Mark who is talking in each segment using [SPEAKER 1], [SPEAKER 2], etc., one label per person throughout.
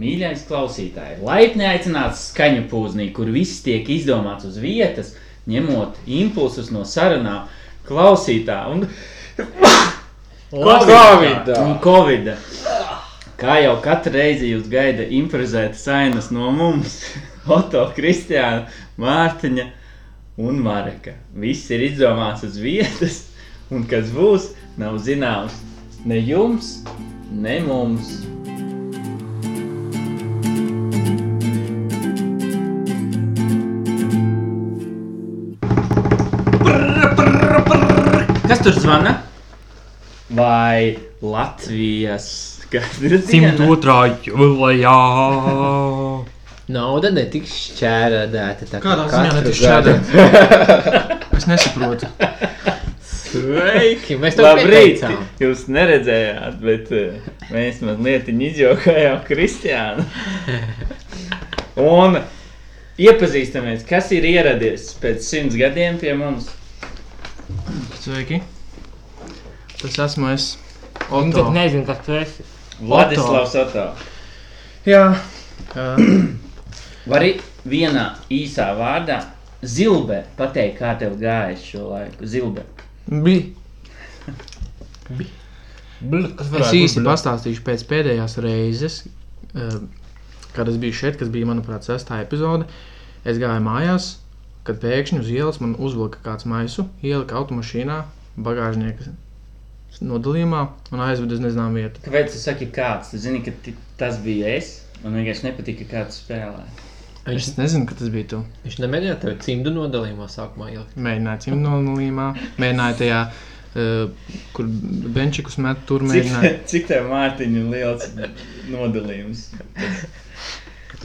[SPEAKER 1] Mīļais klausītāj, laipni aicināts skaņu pūznī, kur viss tiek izdomāts uz vietas, ņemot impulsus no sarunām, klausītā un, un covida. Kā jau katru reizi jūs gaida improvizēta sainas no mums, Oto, Kristiāna, Mārtiņa un Mareka. Viss ir izdomāts uz vietas, un kas būs, nav zināms ne jums, ne mums. Kas tur zvana? Vai Latvijas gadsimta
[SPEAKER 2] 102. jūlijā.
[SPEAKER 3] Nauda netiks šķērdēta. Tā
[SPEAKER 2] Kādā ziņā
[SPEAKER 3] katru
[SPEAKER 2] netiks
[SPEAKER 3] gadu.
[SPEAKER 2] Es nesaprotu.
[SPEAKER 1] Sveiki!
[SPEAKER 3] Mēs to
[SPEAKER 1] Labrīt!
[SPEAKER 3] pieteicām.
[SPEAKER 1] Jūs neredzējāt, bet eh, mēs mazliet izjokājām Kristiānu. Un iepazīstamies, kas ir ieradies pēc simts gadiem pie mums.
[SPEAKER 2] Sveiki. Tas esmu es.
[SPEAKER 4] Viņš
[SPEAKER 2] Oto.
[SPEAKER 4] pat nezina, kas tu esi.
[SPEAKER 1] Vladislavs Oto.
[SPEAKER 2] Jā. Uh,
[SPEAKER 1] Var arī vienā īsā vārdā zilbē pateikt, kā tev gāja šo laiku. Zilbē.
[SPEAKER 2] bija. Es īsi
[SPEAKER 4] pat.
[SPEAKER 2] pastāstīšu pēc pēdējās reizes, eh, kad es biju šeit, kas bija, manuprāt, sestā epizode. Es gāju mājās, kad pēkšņi uz ielas man uzvilka kāds maisu, ielika automašīnā, bagāžnieka nodalījumā un aizveda uz nezināmu vietu.
[SPEAKER 1] Kāpēc tu saki kāds? Tu zini, ka ti, tas bija es. Man vienkārši nepatika, kā tu spēlē.
[SPEAKER 3] Viņš,
[SPEAKER 2] Es nezinu, ka tas bija tu.
[SPEAKER 3] viņš nemēģināja tevi cimdu nodalījumā sākumā ielikt.
[SPEAKER 2] Mēģināju tam nolīmā, mēģināju tajā, eh, kur benčikus met, tur
[SPEAKER 1] Cik,
[SPEAKER 2] mēģināju.
[SPEAKER 1] cik tev Mārtiņa liels nodalījums?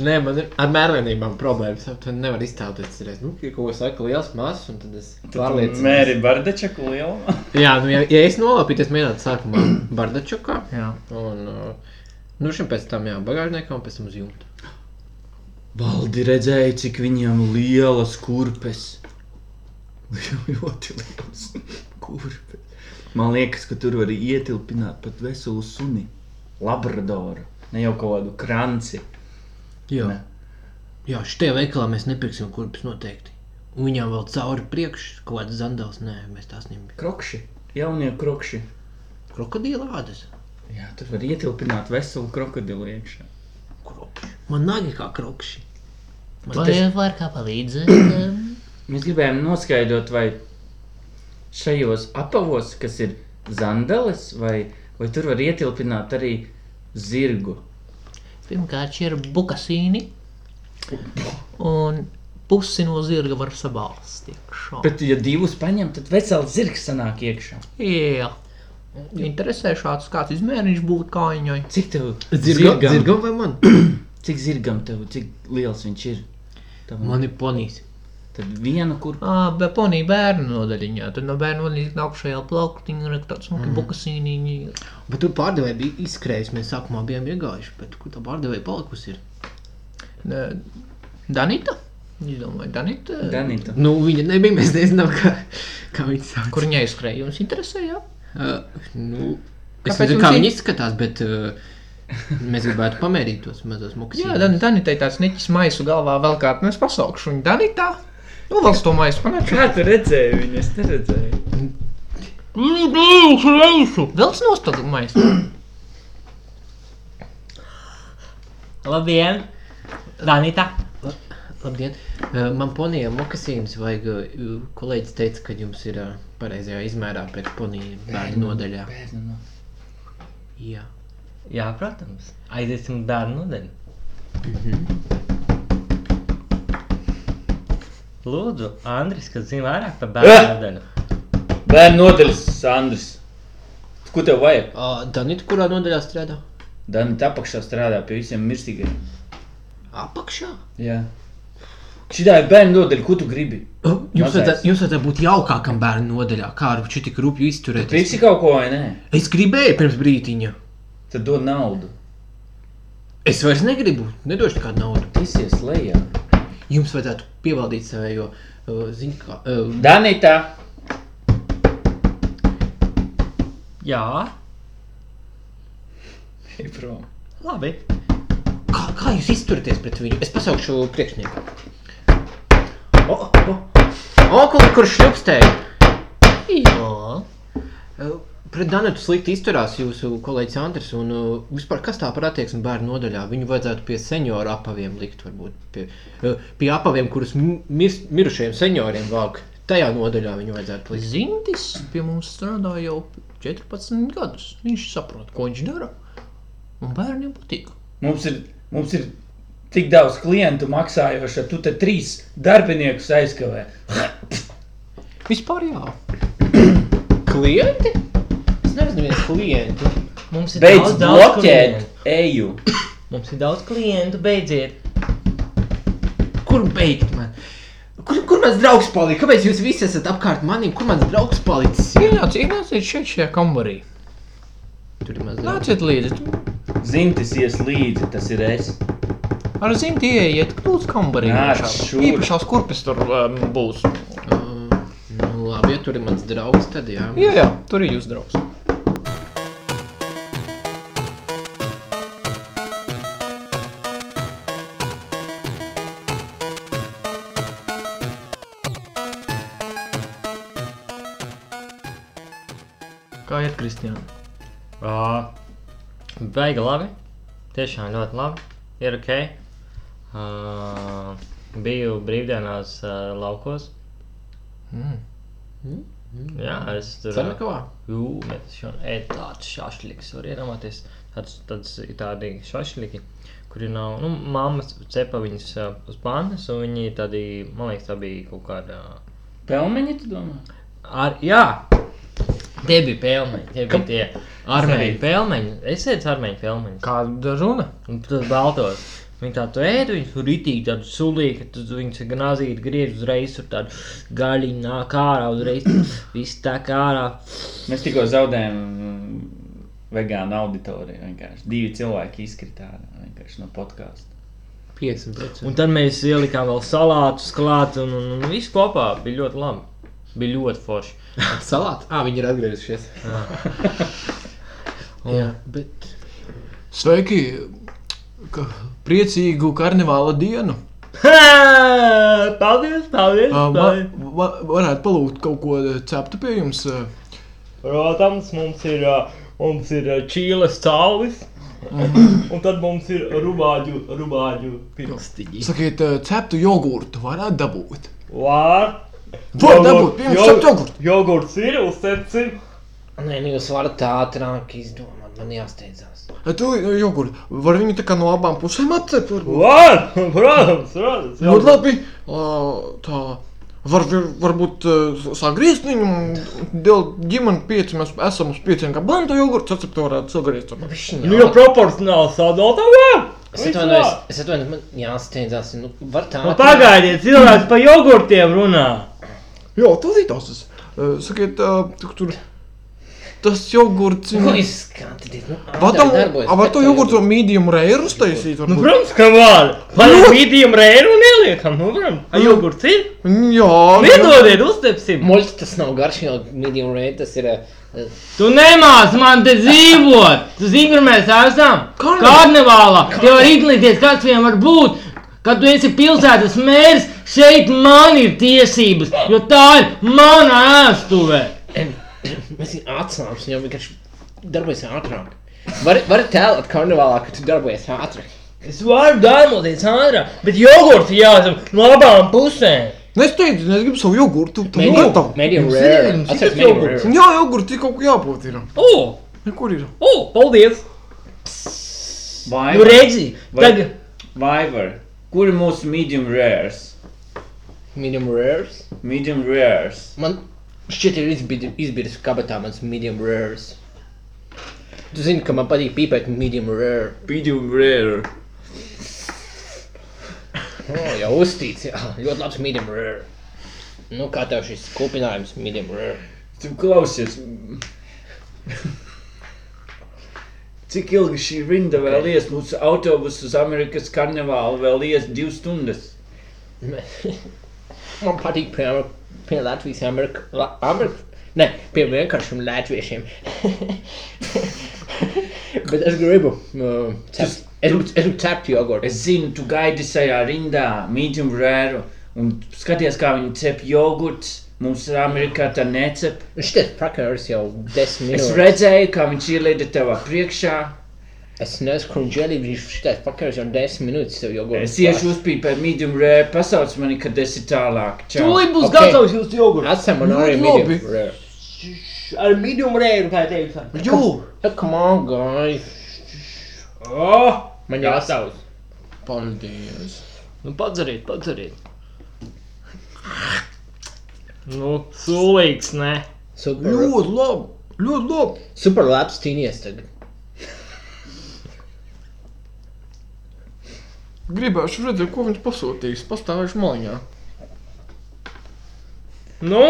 [SPEAKER 3] Nē, man ir ar mērvienībām problēmas. Tu nevari iztēloties, atcerēties. Nu, ja kaut ko saka liels, mazs, un tad es
[SPEAKER 1] Mēri
[SPEAKER 3] pārliecinos.
[SPEAKER 1] Bardačaku lielumā.
[SPEAKER 3] Jā, nu, ja, ja es nolapīties mēģinātu sākumā Bardačukā,
[SPEAKER 2] Jā,
[SPEAKER 3] un uh, nu šim pēc tam jā, bagāžniekā, un pēc tam uz jumta.
[SPEAKER 1] Baldi redzēja, cik viņam lielas kurpes. Ļoti liels kurpes. Man liekas, ka tur var ietilpināt pat veselu suni. Labradoru. Ne jau kaut kādu kranci.
[SPEAKER 3] Jā,
[SPEAKER 1] Nē.
[SPEAKER 3] jā šitie veikalā mēs nepirksim kurpes noteikti. Un viņām vēl cauri priekš, kaut kāds zandals, nē, mēs tās nebijām.
[SPEAKER 1] Krokši. Jaunie krokši.
[SPEAKER 3] Krokodīla ādas.
[SPEAKER 1] Jā, tur var ietilpināt veselu krokodilu iekšā.
[SPEAKER 3] Krokši. Man nagi kā krokši. Man
[SPEAKER 4] Vai
[SPEAKER 3] tas
[SPEAKER 4] var kā palīdzēt? um,
[SPEAKER 1] Mēs gribējām noskaidrot, vai šajos apavos, kas ir zandelis, vai, vai tur var ietilpināt arī zirgu.
[SPEAKER 4] Pirmkārt, šie ir bukasīni. Un pusi no zirga var sabalst iekšā.
[SPEAKER 1] Bet, ja divus paņem, tad vesels zirgs sanāk iekšā.
[SPEAKER 4] Jā. Interesē šāds kāds izmērījums būtu kājņai.
[SPEAKER 1] Cik tev
[SPEAKER 3] Zirga, zirga vai man?
[SPEAKER 1] Cik zirgam tev, cik liels viņš ir? Tavam?
[SPEAKER 3] Man ir ponijas.
[SPEAKER 1] Tad vienu kur
[SPEAKER 4] Ah, bet ponija bērnu nodaļiņā. Tad no bērnu nodaļas nākušajā plauktiņā ir tāds smuki mm. bukasīniņi.
[SPEAKER 3] Bet tur pārdevēja bija izskrējusi. Mēs sākumā bijām iegājuši, bet kur tā pārdevēja palikusi? Ir?
[SPEAKER 4] Ne, Danita? Es domāju, Danita.
[SPEAKER 1] Danita.
[SPEAKER 3] Nu, viņa nebija. Mēs nezinām, kā, kā viņa sauc.
[SPEAKER 4] Kur viņai skrēja? Jums interesē, jā?
[SPEAKER 3] Uh, nu, es
[SPEAKER 4] Kāpēc
[SPEAKER 3] nezinu,
[SPEAKER 4] mums
[SPEAKER 3] kā
[SPEAKER 4] ir-
[SPEAKER 3] viņa izskatās, bet uh, mēs gribētu pamērīt tos mazos mukus.
[SPEAKER 4] Jā, Dan, Danita ir tāds niķis maisu galvā vēl kā, nu es pasaukšu viņu Danitā. Nu, vēl to maisu panākšu.
[SPEAKER 1] Kā tu redzēji viņu? Es neredzēju.
[SPEAKER 4] Lielušu, lielušu. Vēl nostadu maisu.
[SPEAKER 5] Labdien! Danita!
[SPEAKER 3] Labdien! Uh, man ponijam mokasīnas vajag. Uh, kolēģis teica, ka jums ir uh, pareizajā izmērā pēc ponija bērnu nodaļā.
[SPEAKER 1] Bērnu no-
[SPEAKER 3] Jā.
[SPEAKER 5] Jā, protams, aiziesim dārnu nodeļu. Lūdzu, Andris, kas zina vairāk par bērnu
[SPEAKER 1] Eh!
[SPEAKER 5] nodeļu.
[SPEAKER 1] Bērnu nodaļas, Andris. Ko tev vajag?
[SPEAKER 3] Uh, Danita, kurā nodaļā strādā?
[SPEAKER 1] Danita apakšā strādā pie visiem mirstīgajiem.
[SPEAKER 3] Apakšā?
[SPEAKER 1] Jā. Šī ir bērnu nodeļa, ko tu gribi?
[SPEAKER 3] Jums
[SPEAKER 1] Mazais.
[SPEAKER 3] vajadzētu, jums vajadzētu būt jaukākam bērnu nodaļā, kā ar šitā rupju izturēties.
[SPEAKER 1] Pīsi kaut ko vai nē?
[SPEAKER 3] Es gribēju pirms brīdiņa.
[SPEAKER 1] Tad dod naudu.
[SPEAKER 3] Es vairs negribu, nedošu nekādu naudu.
[SPEAKER 1] Tisies lejā.
[SPEAKER 3] Jums vajadzētu pievaldīt savējo uh, ziņu, kā uh,
[SPEAKER 1] Danita!
[SPEAKER 5] Jā,
[SPEAKER 1] Ej prom.
[SPEAKER 5] labi.
[SPEAKER 3] kā Kā jūs izturieties pret viņu? Es pasaukšu priekšnieku. O, o, o kur, kurš šļupstēja?
[SPEAKER 6] Jā,
[SPEAKER 3] Uh, Pret Danutu slikti izturās jūsu kolēģis Andris. Un, uh, vispār, kas tā par attieksmi bērnu nodaļā? Viņu vajadzētu pie senioru apaviem likt, varbūt pie, uh, pie apaviem, kurus mi- mirs- mirušajiem senioriem vāk. Tajā nodaļā viņu vajadzētu likt.
[SPEAKER 6] Zintis pie mums strādā jau 14 gadus. Viņš saprot, ko viņš dara. Un bērniem patīk.
[SPEAKER 7] Mums ir, mums ir tik daudz klientu maksājoša, tu te trīs darbiniekus aizkavē.
[SPEAKER 6] Vispār jā.
[SPEAKER 3] Klienti? Es nezinu, kādi klienti.
[SPEAKER 8] Mums ir
[SPEAKER 1] Beidz
[SPEAKER 8] daudz, daudz
[SPEAKER 1] bloķēt,
[SPEAKER 8] klientu.
[SPEAKER 1] eju.
[SPEAKER 8] Mums ir daudz klientu, beidziet.
[SPEAKER 3] Kur beigt man? Kur, kur mans draugs palika? Kāpēc jūs visi esat apkārt manim? Kur mans draugs palicis? ir?
[SPEAKER 2] Ienāc, ienāciet šeit šajā kambarī.
[SPEAKER 3] Tur ir mans draugs.
[SPEAKER 2] Nāciet līdzi.
[SPEAKER 1] Zintis ies līdzi, tas ir es.
[SPEAKER 2] Ar zīmēm ieiet, lūdzu, kambarī.
[SPEAKER 1] Nāc
[SPEAKER 2] iekšā.
[SPEAKER 1] šur.
[SPEAKER 2] Īpašās kurpes tur um, būs.
[SPEAKER 3] Uh, nu, labi, ja tur ir mans draugs, tad jā.
[SPEAKER 2] Jā, jā, tur ir jūsu draugs. Kā iet, Kristija?
[SPEAKER 8] Uh, Baigi labi. Tiešām ļoti labi. Ir ok. Uh, biju brīvdienās uh, laukos.
[SPEAKER 2] Mm.
[SPEAKER 8] Jā, es tur
[SPEAKER 3] Sarnakavā?
[SPEAKER 8] Jūmēs šodien ēd tāds šašliks, var iedomāties. Tāds, tāds ir tādi šašliki, kuri nav, nu, mammas cepa viņas uh, uz pannas, un viņi tādi, man liekas, tā bija kaut kāda...
[SPEAKER 7] Pelmeņi, tu domā?
[SPEAKER 8] Ar, jā! Tie bija pelmeņi, tie bija tie armēņu pelmeņi. Es ēdu armēņu pelmeņus.
[SPEAKER 2] Kāda runa?
[SPEAKER 8] Un tas baltos. Viņi tādu ēd, viņi tur ritīgi tādu sulīju, ka tas viņus gnazīja, griež uzreiz, tur tādu gaļiņu nāk ārā, uzreiz viss tā kā ārā.
[SPEAKER 1] Mēs tikko zaudējām mm, vegānu auditoriju. Vienkārši divi cilvēki izkrita ārā, vienkārši no podkāstu.
[SPEAKER 3] 50%.
[SPEAKER 8] Un tad mēs ielikām vēl salātus klāt, un, un, un viss kopā bija ļoti labi. Bija ļoti forši.
[SPEAKER 3] Salāti? Ah, viņi ir atgriezušies.
[SPEAKER 8] Un,
[SPEAKER 3] Jā, bet
[SPEAKER 2] Sveiki! Ka- Priecīgu karnevāla dienu!
[SPEAKER 8] Hē! Paldies, paldies!
[SPEAKER 2] Ā, Ma,
[SPEAKER 8] paldies.
[SPEAKER 2] va, varētu palūgt kaut ko ā, ceptu pie jums. uh, ā,
[SPEAKER 8] Protams, mums ir, ā, mums ir ā, čīles caulis, un tad mums ir rubāģu, rubāģu
[SPEAKER 3] nu.
[SPEAKER 8] pirkstiņi.
[SPEAKER 2] Sakiet, ā, ceptu jogurtu varētu dabūt.
[SPEAKER 8] Vār!
[SPEAKER 2] Var dabūt, pie jums ceptu jogurtu!
[SPEAKER 8] Jogurts ir, uzcepts ir.
[SPEAKER 3] Nē, nu jūs varat tā ātrāk izdomāt, man jāsteidzās.
[SPEAKER 2] Ā, Tu ā, jogurtu, var viņu tā kā no abām pusēm atcept? varbūt?
[SPEAKER 8] Vār! Protams, protams.
[SPEAKER 2] Ļoti labi! Ā, Tā. Var, vi- varbūt ā, sagriezt viņu, un dēļ ģimenes pieci mēs esam uz pieciem gabaliem, to jogurtu sacept varētu sagriezt. varbūt.
[SPEAKER 8] Nu, jau proporcionāli sadalta, vār!
[SPEAKER 3] Es atvainojos, es atvainojos, man jāsteidzās. Nu, var tā.
[SPEAKER 8] Nu, pagaidiet, cilvēks pa jogurtiem runā.
[SPEAKER 2] Jā, tas ir tas. ā, Sakiet, ā, tu- tur. Tas jogurts.
[SPEAKER 3] Nu,
[SPEAKER 2] ir-
[SPEAKER 3] izskatiet, nu,
[SPEAKER 2] Vatam,
[SPEAKER 3] Andrej darbojas,
[SPEAKER 2] a var to
[SPEAKER 3] bet
[SPEAKER 2] jogurtu medium rare uztaisīt?
[SPEAKER 8] Nu,
[SPEAKER 2] varbūt?
[SPEAKER 8] protams, ka var. Vai nu vidiem reiru neliekam? Nu, protams, A, jogurts ir.
[SPEAKER 2] Mm, Jā, nu, jā.
[SPEAKER 8] Nedodiet, uztepsim.
[SPEAKER 3] Moļķis tas nav garš, jau medium rate, tas ir. eh,
[SPEAKER 8] Tu nemāc man te dzīvot. Tu zini, kur mēs esam? Karnevālā. Tev var izglīties, kāds viņam var būt. Kad tu esi pilsētas mērs, šeit man ir tiesības, jo tā ir mana ēstuvē.
[SPEAKER 3] Mēs esam atsāpsi, jau vienkārši darbojas ātrāk. Var, var tēlot karnevālā, ka tu darbojies ātrāk.
[SPEAKER 8] Es varu darboties ātrāk, bet jogurts jāsam no abām pusēm.
[SPEAKER 2] Nu, Es teicu, es gribu savu jogurtu. Tu nu
[SPEAKER 3] Medium,
[SPEAKER 2] gatav.
[SPEAKER 3] medium
[SPEAKER 8] Jums ir,
[SPEAKER 3] rare.
[SPEAKER 8] jums ir
[SPEAKER 3] Atceries
[SPEAKER 8] tas
[SPEAKER 3] medium
[SPEAKER 8] jogurts.
[SPEAKER 3] rare.
[SPEAKER 2] Jā, jogurti kaut kur jābūt ir.
[SPEAKER 8] O,
[SPEAKER 2] Nu, Kur ir?
[SPEAKER 8] o, paldies!
[SPEAKER 1] Vai
[SPEAKER 8] Nu redzi,
[SPEAKER 1] Vai-
[SPEAKER 8] tagad.
[SPEAKER 1] Viber, kur ir mūsu medium rares?
[SPEAKER 3] Medium rares.
[SPEAKER 1] Medium rares.
[SPEAKER 3] Man šķiet, ir izbid- izbīris kabatā mans medium rares. Tu zini, ka man patīk pīpēt medium rare.
[SPEAKER 1] Medium rare.
[SPEAKER 3] Oh, jau uztīts, jā. Ļoti labs medium rare. Nu, kā tev šis kopinājums medium rare?
[SPEAKER 1] Tu klausies. Cik ilgi šī rinda vēl ies? Mūsu autobusu uz Amerikas karnevālu vēl ies divas stundas.
[SPEAKER 3] Man patīk pie, pie Latvijas Amerika. La, Amerika? Nē, pie vienkāršiem latviešiem. Bet es gribu. Uh,
[SPEAKER 1] Tu, s- Tu-
[SPEAKER 3] Es esmu cepts jogurtu.
[SPEAKER 1] Es zinu, tu gaidi šajā rindā, medium rare, un skaties, kā viņi cep jogurts. Mums Amerikā tā necep.
[SPEAKER 3] Šis prakars jau desmit
[SPEAKER 1] Es
[SPEAKER 3] minūtes.
[SPEAKER 1] redzēju, kā viņš ielēda tevā priekšā.
[SPEAKER 3] Es neesmu krunčēlī, viņš šis prakars jau desmit minūtes sev jogurtu.
[SPEAKER 1] Es iešu uzpīpēt medium rare, pasauc mani, kad esi tālāk. Čau.
[SPEAKER 5] Tūlīt būs
[SPEAKER 3] Ok.
[SPEAKER 5] gatavs jūsu jogurts.
[SPEAKER 3] Esam un arī
[SPEAKER 5] Ļoti
[SPEAKER 3] medium rare.
[SPEAKER 5] Ar medium rare, kā teicu.
[SPEAKER 3] Jū! Come on, guys!
[SPEAKER 9] Oh!
[SPEAKER 3] Man jāsauc.
[SPEAKER 2] Paldies!
[SPEAKER 5] Nu, padzeriet, padzeriet. Nu, sulīgs, ne?
[SPEAKER 3] Super.
[SPEAKER 2] Ļoti labi! Ļoti labi!
[SPEAKER 3] Super labs tīnies tagad.
[SPEAKER 2] Gribēšu redzēt, ko viņš pasūtīs. Pastāvēšu malā.
[SPEAKER 5] Nu,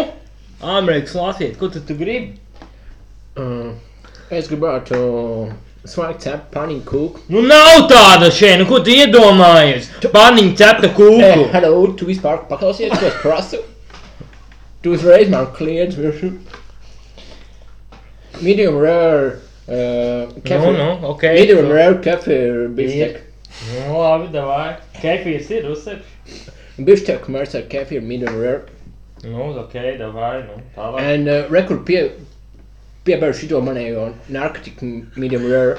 [SPEAKER 5] Amerikas lasiet, ko tu, tu gribi?
[SPEAKER 3] Uh, Es gribētu svaigs cept panīku kūku.
[SPEAKER 5] Nu, nav tāda šeit, nu, ko tu iedomājies? Paniņa cepta
[SPEAKER 3] Hey,
[SPEAKER 5] kūku.
[SPEAKER 3] Uh, hello, tu vispār paklausies, ko es prasu? Tu uzreiz man kliedz virsū. Medium rare. Uh,
[SPEAKER 5] Nu,
[SPEAKER 3] kefir.
[SPEAKER 5] nu, ok.
[SPEAKER 3] Medium rare kefir biftek.
[SPEAKER 5] Nu, labi, davai. Kefīrs ir uzsepts.
[SPEAKER 3] Biftek mērts ar kefir medium rare.
[SPEAKER 5] Nu, ok, davai, nu, tālāk.
[SPEAKER 3] And uh, rekur pie, pieberu šito manējo narkotiku medium rare.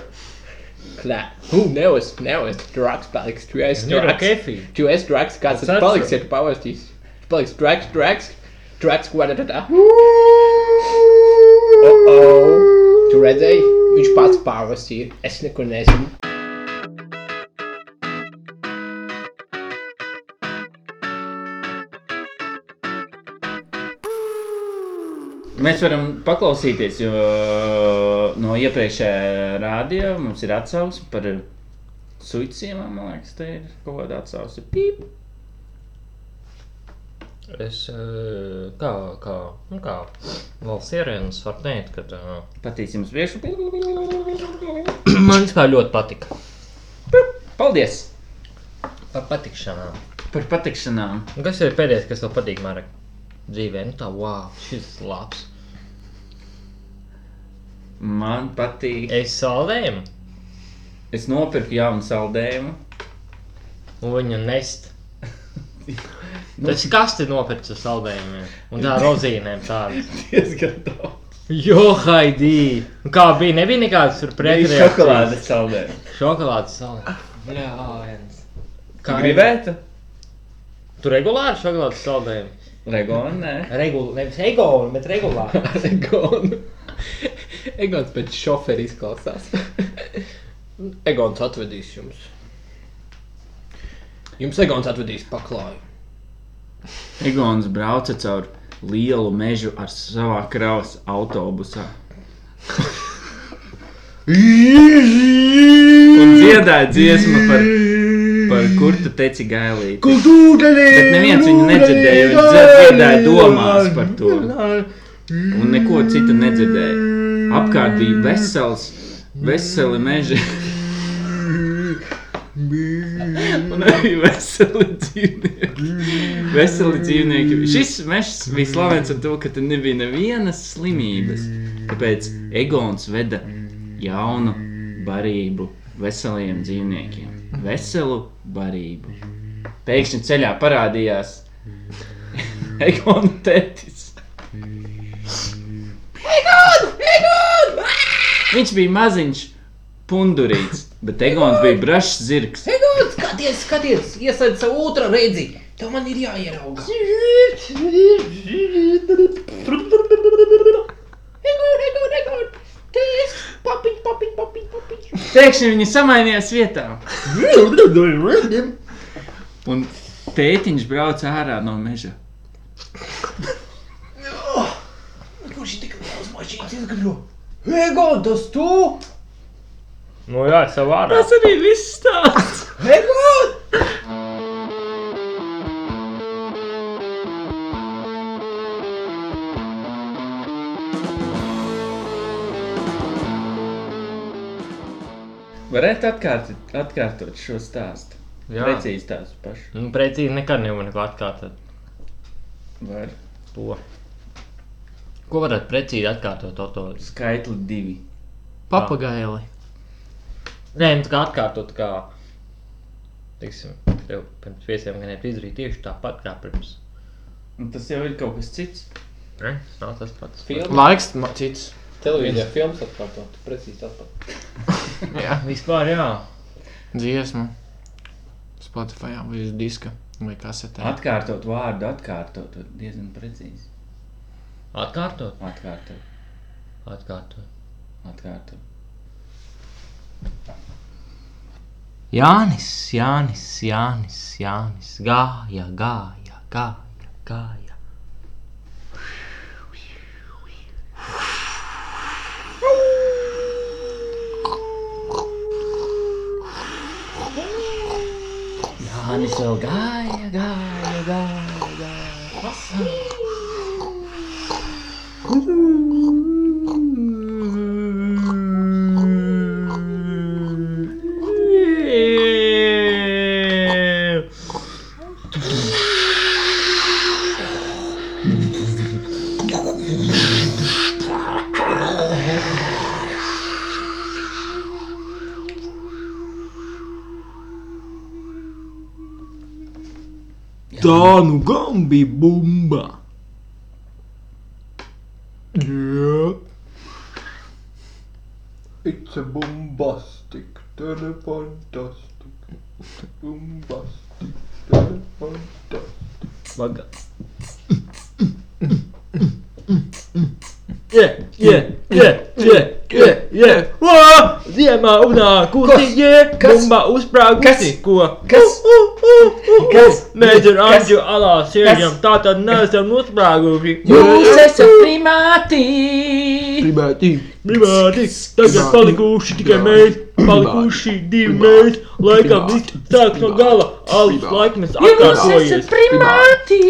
[SPEAKER 3] Klāt. Ugh, nevis, nevis. Drugs paliks. Tu esi
[SPEAKER 5] Ir
[SPEAKER 3] drugs.
[SPEAKER 5] kefīrs.
[SPEAKER 3] Tu esi draks, kāds tas
[SPEAKER 5] Atceru.
[SPEAKER 3] paliks, ja tu pavastīs. Tu paliks draks, draks, draks, ko tad tā. Oh, tu redzēji, viņš pats pavastīja. Es neko nezinu.
[SPEAKER 1] Mēs varam paklausīties, jo uh, no iepriekšējā rādījā mums ir atsauce par suicīdiem. Man liekas, tā ir kaut kāda atsauce. Pīp!
[SPEAKER 8] Es eh, kā, kā, nu kā valsts ierēdnis varu teikt, ka tā
[SPEAKER 5] eh,
[SPEAKER 1] Patīsim uz priekšu.
[SPEAKER 8] man vispār ļoti patika.
[SPEAKER 1] Paldies
[SPEAKER 8] Par patikšanām.
[SPEAKER 1] par patikšanām.
[SPEAKER 8] Un Kas ir pēdējais, kas tev patīk Marek? dzīvē? Nu tā, wow, šis ir labs.
[SPEAKER 1] Man patīk.
[SPEAKER 8] Es saldējumu
[SPEAKER 1] Es nopirku jaunu saldējumu.
[SPEAKER 8] un viņu nest. Tas ir kasti nopirkt ar saldējumiem un tā rozīnēm tādas.
[SPEAKER 1] Diezgan daudz.
[SPEAKER 8] Jo, haidī! Un Kā bija, nebija nekādas tur
[SPEAKER 1] Bija
[SPEAKER 8] pretreakcijas?
[SPEAKER 1] šokolādes saldējumu.
[SPEAKER 8] Šokolādes saldējumi. Bļāviens. Kā
[SPEAKER 1] Gribētu?
[SPEAKER 8] Tu regulāri šokolādes saldējumi?
[SPEAKER 1] Regona, nē.
[SPEAKER 5] Regula, nevis ego, bet regulā.
[SPEAKER 3] Egonu. Egons pēc šoferi izklausās. Egons atvedīs jums. Jums Egons atvedīs paklāju.
[SPEAKER 1] Egons brauca caur lielu mežu ar savā kravas autobusā. Un dziedāja dziesmu par, par kur tu teci gailīgi. Bet neviens viņu nedzirdēja, jo viņš dzirdēja domās par to. Un neko citu nedzirdēja. Apkārt bija vesels, veseli meži. Un arī veseli dzīvnieki. Veseli dzīvnieki. Šis mežs bija slavens ar to, ka tur nebija nevienas slimības. Tāpēc Egons veda jaunu barību veseliem dzīvniekiem. Veselu barību. Pēkšņi ceļā parādījās Egona tētis. Viņš bija maziņš, pundurīts, bet Egons bija brašs zirgs.
[SPEAKER 3] Egons, skaties, skaties, iesaid savu otrā redzi. Tev man ir jāierauga. Egon, Egon, Egon. Tēs, papiņ, papiņ, papiņ, papiņ.
[SPEAKER 1] Pēkšņi viņi samainījās vietā. Un tētiņš brauca ārā no meža.
[SPEAKER 3] Kurš ir tik liels mašīnas izgudro? Egon, tas tu?
[SPEAKER 5] Nu jā, es jau vārā.
[SPEAKER 1] Tas arī viss stāsts.
[SPEAKER 3] Egon!
[SPEAKER 1] Varētu atkārtot, atkārtot šo stāstu. Jā. Precīzi tās pašu.
[SPEAKER 8] Nu, precīzi nekad nevar neko atkārtot.
[SPEAKER 1] Var.
[SPEAKER 8] To. Ko varētu precīzi atkārtot to? to?
[SPEAKER 1] Skaitli divi.
[SPEAKER 4] Papagaili.
[SPEAKER 8] Nē, nu tā kā atkārtot, kā, teiksim, tev pirms pieciem gadiem izdarīja tieši tāpat kā pirms.
[SPEAKER 1] Un Tas jau ir kaut kas cits.
[SPEAKER 8] Ne? Tas nav tas pats.
[SPEAKER 3] Filma.
[SPEAKER 2] Laiks ma- cits.
[SPEAKER 3] Televīzijā filmas atkārtot. Tu Precīzi atkārtot.
[SPEAKER 2] Jā,
[SPEAKER 8] Vispār jā.
[SPEAKER 2] dziesma. Spotify vai uz diska vai kasetē.
[SPEAKER 1] Atkārtot vārdu, atkārtot to diezgan precīzi.
[SPEAKER 8] Atkārtot,
[SPEAKER 1] Atkārtot,
[SPEAKER 8] atkārtot.
[SPEAKER 1] atkārtot.
[SPEAKER 8] Jānis, Jānis, Jānis, Jānis, gāja, gāja, gāja, gāja.
[SPEAKER 1] Jānis vēl gāja, gāja, gāja.
[SPEAKER 2] Tā nu gan bija bumba. Jā.
[SPEAKER 10] It's a bombastic, telefantastic, bombastic, telefantastic.
[SPEAKER 9] Kas? Kas?
[SPEAKER 2] Oh,
[SPEAKER 9] Kas?
[SPEAKER 8] Mēģinot
[SPEAKER 9] Kas?
[SPEAKER 8] Andriu alā sēžam, tā tad neesam nosprāguši.
[SPEAKER 9] Jūs esat primāti!
[SPEAKER 2] Gribētu.
[SPEAKER 8] Privāti, tagad palikuši tikai mēs, palikuši divi mēs, laikam viss sāks no gala, alus laikmets atkārtojies.
[SPEAKER 9] primāti!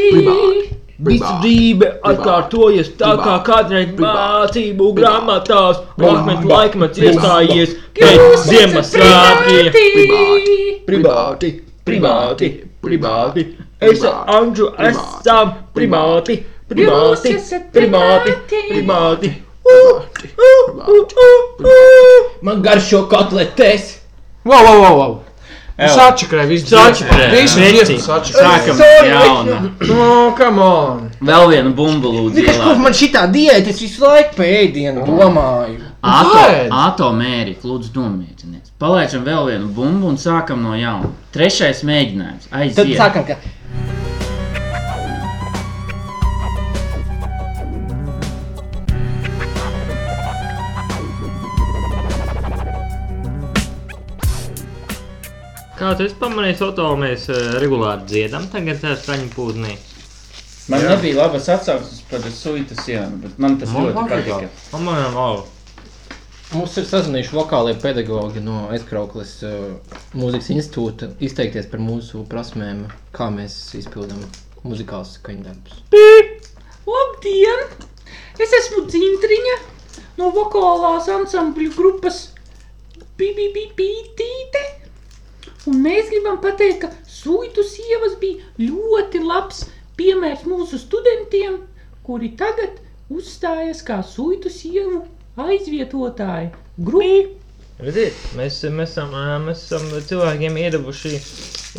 [SPEAKER 8] Visu dzīve atkārtojies tā kā kādreiz mācību grāmatās, laikmets laikmets iestājies pēc Ziemassvētkiem. Privāti, privāti, privāti, es ar Andžu esam primāti, primāti, primāti, primāti.
[SPEAKER 9] Man garšo kotletes!
[SPEAKER 2] Wow, wow, wow, wow.
[SPEAKER 1] Evo.
[SPEAKER 2] Sačakrē, viss
[SPEAKER 8] Sačakrē,
[SPEAKER 2] Viss
[SPEAKER 8] reci.
[SPEAKER 2] dziesma sačakrē.
[SPEAKER 1] Sākam jaunu.
[SPEAKER 2] No, come on.
[SPEAKER 1] Vēl vienu bumbu lūdzu.
[SPEAKER 3] Zinies, kur
[SPEAKER 1] ielādēt.
[SPEAKER 3] man šitā diēta? Es visu laiku pēdienu domāju.
[SPEAKER 1] Ato-
[SPEAKER 2] Kāpēc?
[SPEAKER 1] Atomēri, lūdzu, domājieties. Palaidām vēl vienu bumbu un sākam no jauna. Trešais mēģinājums.
[SPEAKER 3] Tad
[SPEAKER 1] Aiziet.
[SPEAKER 3] sākam, ka
[SPEAKER 8] Kā tu esi pamanījis, Oto, mēs eh, regulāri dziedam tagad ar straņu pūznī.
[SPEAKER 1] Man jā. nebija labas atsauksmes par suitu sienu, bet man tas man ļoti patika.
[SPEAKER 8] Pamanām, au.
[SPEAKER 3] mums ir sazinājuši vokālie pedagogi no aizkrauklas uh, mūzikas institūta izteikties par mūsu prasmēm, kā mēs izpildām muzikālus skaņdarbus.
[SPEAKER 9] Labdien! Es esmu Zintriņa no vokālās ansambļu grupas Pipipipītīte. Un mēs gribam pateikt, ka suitu sievas bija ļoti labs piemērs mūsu studentiem, kuri tagad uzstājas kā suitu sievu aizvietotāji. Grupi.
[SPEAKER 8] Redziet, mēs, mēs, esam, ā, mēs esam cilvēkiem iedavuši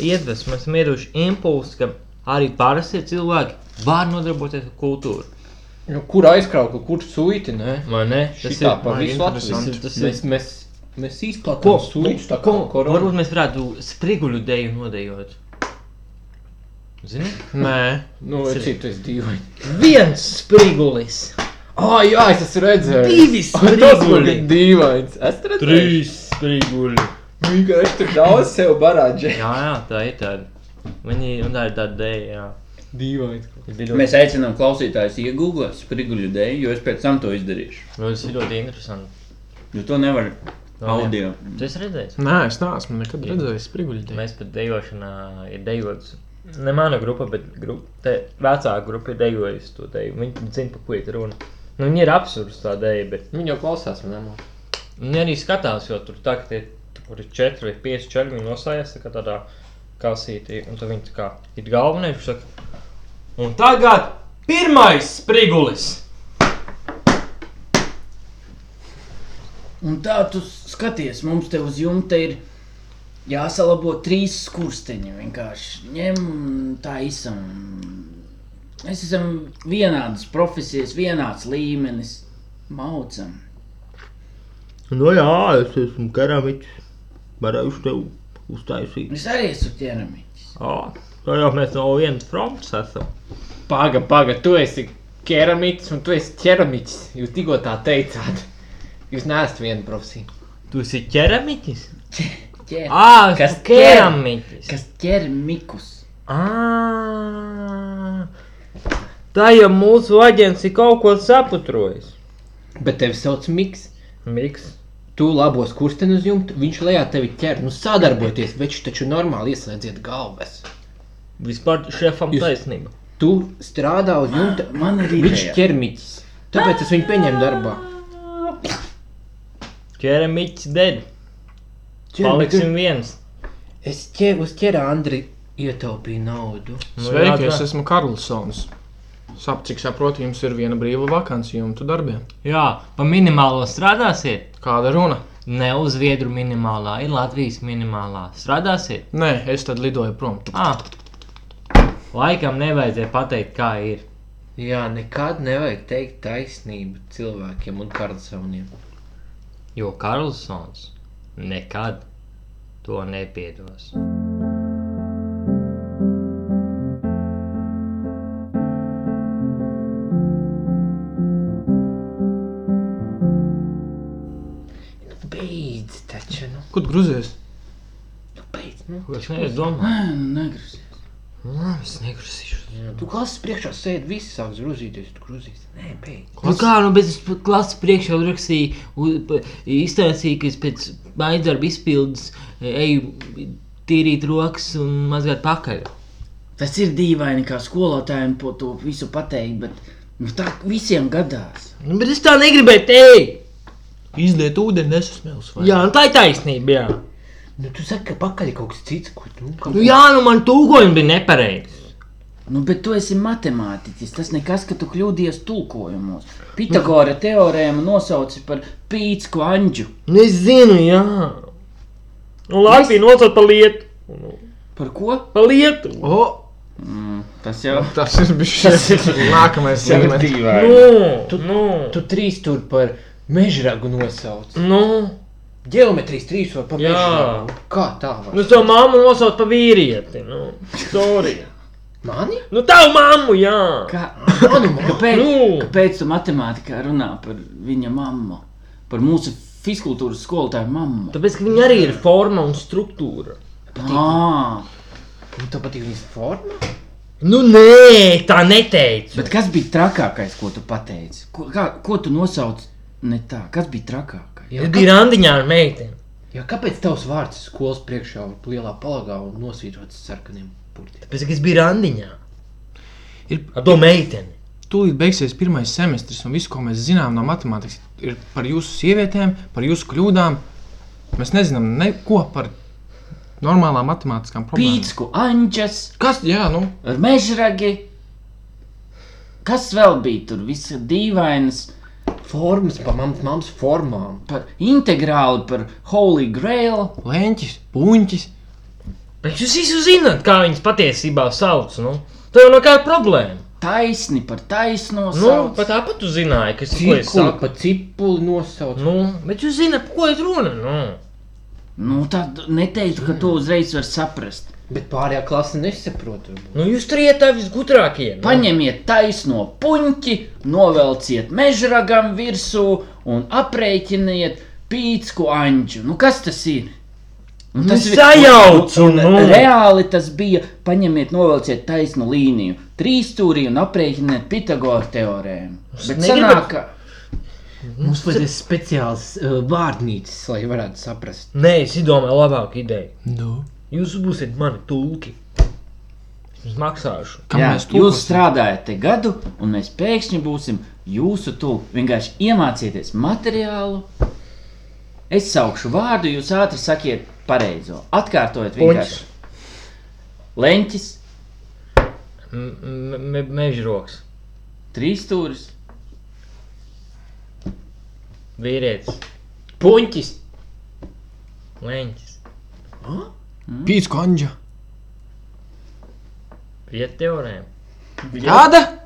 [SPEAKER 8] iedvesmu, mēs esam iedavuši impulsu, ka arī parastie cilvēki var nodarboties ar kultūru.
[SPEAKER 3] Nu, Kur aizkraukla, kur suiti? Ne?
[SPEAKER 8] Vai ne?
[SPEAKER 3] Tas ir pa
[SPEAKER 2] man
[SPEAKER 3] visu
[SPEAKER 2] interesanti.
[SPEAKER 3] atvesu.
[SPEAKER 8] Tas ir-
[SPEAKER 3] Mēs, mēs, mēs
[SPEAKER 8] Ko?
[SPEAKER 3] izplatām suitu tā kā
[SPEAKER 8] Ko?
[SPEAKER 3] koronu.
[SPEAKER 8] Varbūt mēs varētu spriguļu dēļu nodejot. Zini?
[SPEAKER 2] Nē.
[SPEAKER 3] Nu, es citu es dīvaini.
[SPEAKER 8] Viens sprigulis,
[SPEAKER 3] Ah, jā, es esmu redzējis.
[SPEAKER 8] Divi
[SPEAKER 3] Ai, tas man
[SPEAKER 8] spriguli.
[SPEAKER 3] bija dīvains. Es tur redzēju.
[SPEAKER 8] spriguļi.
[SPEAKER 3] Vienkārši tur daudz sev barāģē.
[SPEAKER 8] Jā, jā, tā ir tāda. Viņi, un tā ir tāda dēļa, jā.
[SPEAKER 3] Dīvains.
[SPEAKER 1] Mēs aicinām klausītājus iegūt spriguļu dēļ, jo es pēc tam to izdarīšu.
[SPEAKER 8] Nu, Tas ir ļoti interesanti.
[SPEAKER 1] Jo to nevar audio.
[SPEAKER 8] Tu esi redzējis?
[SPEAKER 2] Nē, es neesmu nekad redzējis spriguļdēju.
[SPEAKER 8] Mēs pat dejošanā ir dejots. Ne mana grupa, bet grupa, te, vecāka grupa ir dejojusi to deju. Viņi zina, par ko ir runa. Nu, viņi ir absurdi tā dēļ, bet
[SPEAKER 3] Viņa jau klausās manā.
[SPEAKER 8] viņi arī skatās, jo tur tā, ka tie, tur ir četri vai pieci čaļi, viņi nosājās tā kā tādā kasītī, un tad viņi tā kā ir galvenie, viņš saka, un tagad pirmais sprigulis!
[SPEAKER 11] Un tā tu skaties, mums te uz jumta ir jāsalabo trīs skursteņi. Vienkārši ņem un tā izsam. Mēs esam vienādas profesijas, vienāds līmenis. Maucam.
[SPEAKER 12] Nu jā, es esmu Keramiķis. Varēšu tev uztaisīt.
[SPEAKER 11] Es arī esmu ķermenis.
[SPEAKER 8] Oh, tā jau mēs no vienas frontes esam.
[SPEAKER 5] Paga, paga, tu esi keramītis un tu esi ķeramītis. Jūs tikko tā teicāt. Jūs neesat viena profesija.
[SPEAKER 8] Tu esi ķeramiķis?
[SPEAKER 11] Ķer...
[SPEAKER 8] Ah,
[SPEAKER 11] Kas
[SPEAKER 8] kas ķeramiķis?
[SPEAKER 11] Kas ķer mikus?
[SPEAKER 8] Ah, tā jau mūsu aģents ir kaut ko saputrojis.
[SPEAKER 3] Bet tevi sauc Miks.
[SPEAKER 8] Miks.
[SPEAKER 3] Tu labos kurstenes uz jumta, viņš lejā tevi ķer. Nu sadarbojieties, bet viņš taču normāli ieslēdziet galvas.
[SPEAKER 8] Vispār šefam
[SPEAKER 3] Jūs-
[SPEAKER 8] taisnība.
[SPEAKER 3] Tu strādā uz jumta,
[SPEAKER 11] Man ir
[SPEAKER 3] viņš
[SPEAKER 11] ideja.
[SPEAKER 3] ķermiķis. Tāpēc es viņu pieņemu darbā.
[SPEAKER 8] Ķeramiķis dēļ. Paliksim viens.
[SPEAKER 3] Es ķeru, uz ķera Andri ietaupīju naudu.
[SPEAKER 8] Nu,
[SPEAKER 2] Sveiki,
[SPEAKER 8] jā,
[SPEAKER 2] es
[SPEAKER 8] tā-
[SPEAKER 2] esmu Karlsons. Sap, cik saprotu, jums ir viena brīva vakance jumta darbiem.
[SPEAKER 5] Jā, pa minimālo strādāsiet.
[SPEAKER 2] Kāda runa?
[SPEAKER 5] Ne uz Zviedru minimālā, ir Latvijas minimālā. Strādāsiet?
[SPEAKER 2] Nē, es tad lidoju prom.
[SPEAKER 5] Ah. Laikam nevajadzēja pateikt, kā ir.
[SPEAKER 3] Jā, nekad nevajag teikt taisnību cilvēkiem un kardsavniem.
[SPEAKER 5] Jo Karlsons nekad to nepiedos.
[SPEAKER 3] Beidz taču, nu.
[SPEAKER 2] Kur tu gruzies?
[SPEAKER 5] Es Nu, nedomāju,
[SPEAKER 3] nu
[SPEAKER 11] Negribu.
[SPEAKER 8] Es negrasīšu.
[SPEAKER 3] Tu klases priekšā sēdi, visi sāk grūzīties, tu grūzīsi. Nē, beidz.
[SPEAKER 5] nu kā nu bez klases priekšā rakstīju, u- pa- iztaisīju, ka es pēc mājas darba izpildes e, eju tīrīt rokas un mazgāt pakaļ.
[SPEAKER 11] Tas ir dīvaini, kā skolotājiem po to visu pateikt, bet nu, tā visiem gadās.
[SPEAKER 8] Nu, bet es tā negribēju teikt.
[SPEAKER 2] Izliet ūdeni, nesasmils. vai?
[SPEAKER 8] Jā, nu tā ir taisnība. Jā,
[SPEAKER 3] Nu, tu saki, ka pakaļ ir kaut kas cits, ko tu... Kaut...
[SPEAKER 8] nu, jā nu man tūkojumi bija nepareizi.
[SPEAKER 11] Nu, bet tu esi matemātiķis. Tas nekas, ka tu kļūdies tulkojumos. Pitagora teorēmu nosauci par pīcis kvanģu.
[SPEAKER 8] Nezinu, jā. Nu, labi, nosauc par lietu.
[SPEAKER 11] Par ko?
[SPEAKER 8] Pa lietu.
[SPEAKER 2] O,
[SPEAKER 11] Tas jau
[SPEAKER 2] tas ir bijis šis nākamais segments.
[SPEAKER 11] dīvaini.
[SPEAKER 8] Nu, tu, nu,
[SPEAKER 3] Tu trīs tur par mežragu nosauc.
[SPEAKER 8] nu.
[SPEAKER 3] Geometrijas trīs var par
[SPEAKER 8] Jā.
[SPEAKER 3] mežragu. Kā tā var?
[SPEAKER 8] Nu, savu mammu nosauc par vīrieti. Nu, sorry.
[SPEAKER 3] Mani?
[SPEAKER 8] Nu, tavu mammu, jā.
[SPEAKER 11] Kā,
[SPEAKER 3] Manu mammu.
[SPEAKER 11] kāpēc,
[SPEAKER 8] Nu.
[SPEAKER 11] kāpēc tu matemātikā runā par viņa mammu? Par mūsu fiziskultūras skolotāju mammu.
[SPEAKER 8] Tāpēc, ka viņi arī ir forma un struktūra.
[SPEAKER 11] Ah,
[SPEAKER 3] Nu, tev patīk viņas forma?
[SPEAKER 8] Nu, nē, tā neteicu.
[SPEAKER 11] bet kas bija trakākais, ko tu pateici? Ko, kā, ko tu nosauc ne tā? Kas bija trakākais?
[SPEAKER 3] Jā,
[SPEAKER 8] Ir divi randiņā ar meiteni.
[SPEAKER 3] jā, kāpēc tavs vārds ir skolas priekšā un lielā palagā un nosvītrots sarkaniem burtiem?
[SPEAKER 8] Tāpēc, ka es biju randiņā.
[SPEAKER 2] Ir-
[SPEAKER 8] Ar to meiteni.
[SPEAKER 2] Tūlīt beigsies pirmais semestris, un viss, ko mēs zinām no matemātikas, ir par jūsu sievietēm, par jūsu kļūdām. Mēs nezinām neko par normālām matemātiskām problēmām.
[SPEAKER 11] Pīcis, anģels,
[SPEAKER 2] Kas? Jā, nu,
[SPEAKER 11] mežragi. Kas vēl bija tur? Visi dīvainas,
[SPEAKER 3] Formas pa mammas mammas formām.
[SPEAKER 11] par integrāli, par holy grail.
[SPEAKER 2] lēņķis, puņķis.
[SPEAKER 8] Bet jūs visi zināt, kā viņas patiesībā sauc. Nu? Tā jau nav kāda problēma.
[SPEAKER 11] Taisni par taisno
[SPEAKER 8] Nu,
[SPEAKER 11] sauc.
[SPEAKER 8] pat tāpat jūs zinājāt, kas ir
[SPEAKER 3] Cikuli
[SPEAKER 8] sakta.
[SPEAKER 3] pa cipuli nosauc.
[SPEAKER 8] Nu, bet jūs zināt, par ko ir runa. Nu.
[SPEAKER 11] Nu, tad neteiktu, ka to uzreiz var saprast.
[SPEAKER 3] Bet pārējā klase nesaprot. varbūt.
[SPEAKER 8] nu jūs trijotā visgudrākie. Nu.
[SPEAKER 11] Paņemiet taisno puņķi, novelciet mežragam virsū un aprēķiniet pīcisku anģu. Nu, kas tas ir? Un
[SPEAKER 8] Nu, sajaucu,
[SPEAKER 11] un- un
[SPEAKER 8] nu.
[SPEAKER 11] Reāli tas bija. Paņemiet, novelciet taisnu līniju, trīs stūrī un aprēķiniet Pitagora teorēmu. Bet
[SPEAKER 8] negribat-
[SPEAKER 11] sanāk, ka
[SPEAKER 3] Mums vajag speciāls uh, vārnīcis, lai varētu saprast.
[SPEAKER 8] Nē, es domāju, labāka ideja.
[SPEAKER 2] Nu,
[SPEAKER 8] Jūs būsiet mani tulki. Es jums maksāšu.
[SPEAKER 2] kam
[SPEAKER 11] Jā,
[SPEAKER 2] mēs
[SPEAKER 11] jūs
[SPEAKER 2] tulkosim?
[SPEAKER 11] strādājat te gadu, un mēs pēkšņi būsim jūsu tuvu. Vienkārši iemācieties materiālu. Es saukšu vārdu, jūs ātri sakiet pareizo. Atkārtojiet, vienkārši. Leņķis,
[SPEAKER 8] M- m- me- Mežroks,
[SPEAKER 11] trīs stūris,
[SPEAKER 8] vīrietis,
[SPEAKER 3] Puņķis.
[SPEAKER 8] Lēņķis.
[SPEAKER 2] Pīts konģa.
[SPEAKER 8] Vieteorēm.
[SPEAKER 2] Kāda?